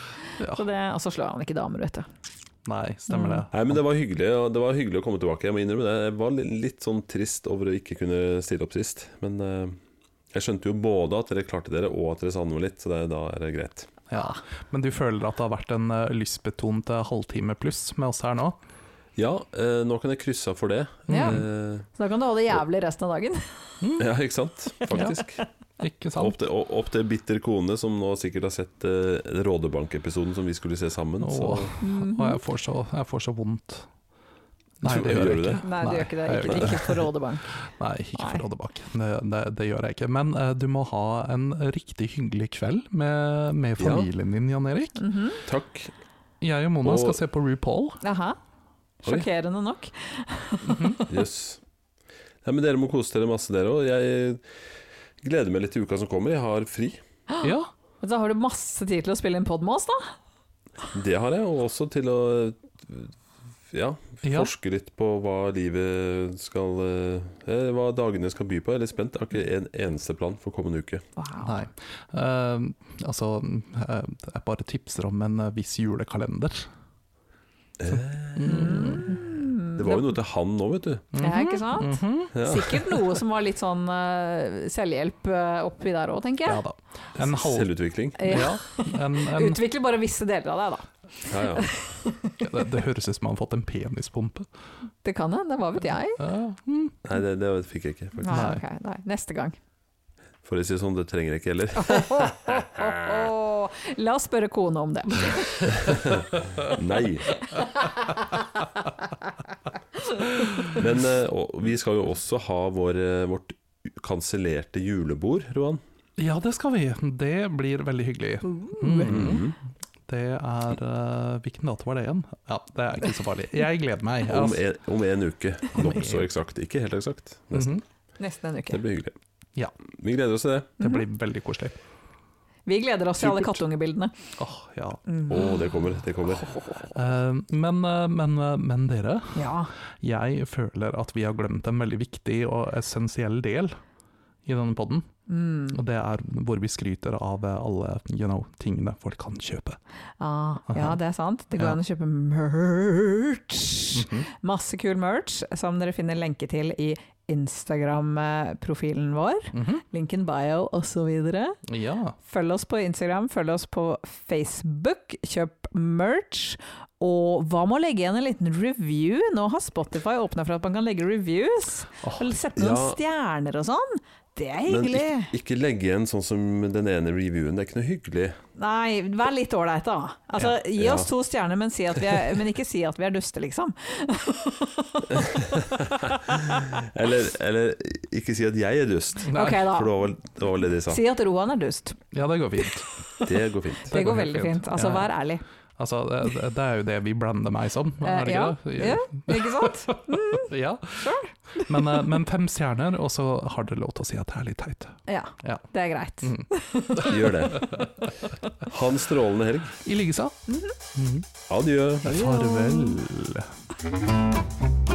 Ja. Så det, og så slår han ikke damer, vet du. Nei, stemmer Mm. det. Nei, men det var hyggelig, og det var hyggelig å komme tilbake. Jeg må innrømme det. Jeg var litt, litt sånn trist over å ikke kunne stille opp sist. Men eh, jeg skjønte jo både at dere klarte dere, og at dere savner meg litt, så det, da er det greit. Ja. Men du føler at det har vært en eh, lystbetont eh, halvtime pluss med oss her nå? Mm. Ja, eh, nå kan jeg krysse av for det. Ja. Eh, Så da kan du holde jævlig resten av dagen. ja, ikke sant? Faktisk. Ikke sant? Opp til, og- opp til bitter kone, som nå sikkert har sett eh, Rådebank-episoden som vi skulle se sammen. Så Åh, Mhm. åh, jeg, får så, jeg får så vondt. Tror- gjør du det? Nei, du gjør ikke det. jeg gjør Ikke, ikke for Rådebank. Nei, ikke Nei. for Rådebank. Det, det, det gjør jeg ikke. Men eh, du må ha en riktig hyggelig kveld med, med Ja. familien din, Jan Erik. Mhm. takk. Jeg og Mona Og- skal se på RuPaul. Aha. Oi. Sjokkerende nok. Jøss. Nei, men dere må kose dere masse, dere òg. Jeg gleder meg litt til uka som kommer. Jeg har fri. Ja, Men Da har du masse tid til å spille inn pod med oss, da. Det har jeg, og også til å ja, Ja. forske litt på hva livet skal eh, eh, Hva dagene skal by på. Jeg er litt spent. Jeg har ikke en eneste plan for kommende uke. nei. Eh, altså, eh, jeg bare tipser om en eh, viss julekalender. Mm. Det var jo noe til han nå, vet du. Mhm. Ja, ikke sant? Ja. Sikkert noe som var litt sånn eh, selvhjelp eh, oppi der òg, tenker Ja jeg. da. En halv... Selvutvikling. Ja. Ja, en, en, Utvikle bare visse deler av deg, da. Ja, ja. det, det høres ut som man har fått en penispumpe. Det kan jeg, det var vet jeg. Ja, mm. Nei, det, det fikk jeg ikke, faktisk. Nei, Nei. ok, nei. Neste gang. For å si det sånn, det trenger jeg ikke heller. Åh, La oss spørre kona om det. Nei. Men eh, og vi skal jo også ha vår, eh, vårt kansellerte julebord, Roan. Mm. Mm. Mhm. ja, det skal vi. Det blir veldig hyggelig. Det er eh, Hvilken dato var det igjen? Ja, det er ikke så farlig. Jeg gleder meg. Om ass. en, altså. om en uke. Nokså eksakt. Ikke helt eksakt. Nesten. Mhm. Nesten en Det uke. Mm. blir hyggelig. Ja. Vi gleder oss til det. Mhm. Det blir veldig koselig. Vi gleder oss til alle Supert. kattungebildene. Mm. Åh, ja. Å, det kommer. Det kommer. Eh, men, eh, men, eh, men dere, Ja. jeg føler at vi har glemt en veldig viktig og essensiell del i denne podden. Mm. Og det er hvor vi skryter av eh, alle you know, tingene folk kan kjøpe. Ah, ja, Aha. det er sant. Det går Ja. an å kjøpe merch. Mhm. Masse kul merch som dere finner lenke til i Instagram-profilen vår. Mhm. Linken bio osv. Ja. Følg oss på Instagram, følg oss på Facebook, kjøp merch. Og hva med å legge igjen en liten review? Nå har Spotify åpna for at man kan legge reviews. Åh, Og sette noen ja. stjerner og sånn. Det er Men hyggelig. ikke, ikke legge igjen sånn som den ene reviewen. Det er ikke noe hyggelig. Nei, vær litt ålreit, da. Altså, gi Ja. oss to stjerner, men, si at vi er, men ikke si at vi er duste, liksom. Eller, eller ikke si at jeg er dust. Nei, Ok, da. For det var vel det, var vel det de sa. Si at Roan er dust. Ja, det går fint. Det går fint. Det går helt veldig fint. Altså, Ja. vær ærlig. Altså, det, det- det er jo det vi blander meg som, er det Eh, ja. ikke det? ja, ikke sant? ja. Men, eh, men fem stjerner, og så har dere lov til å si at det er litt teit. Ja, Ja. det er greit. Gjør det. Ha en strålende helg. I likeså. Adjø. Farvel. Oh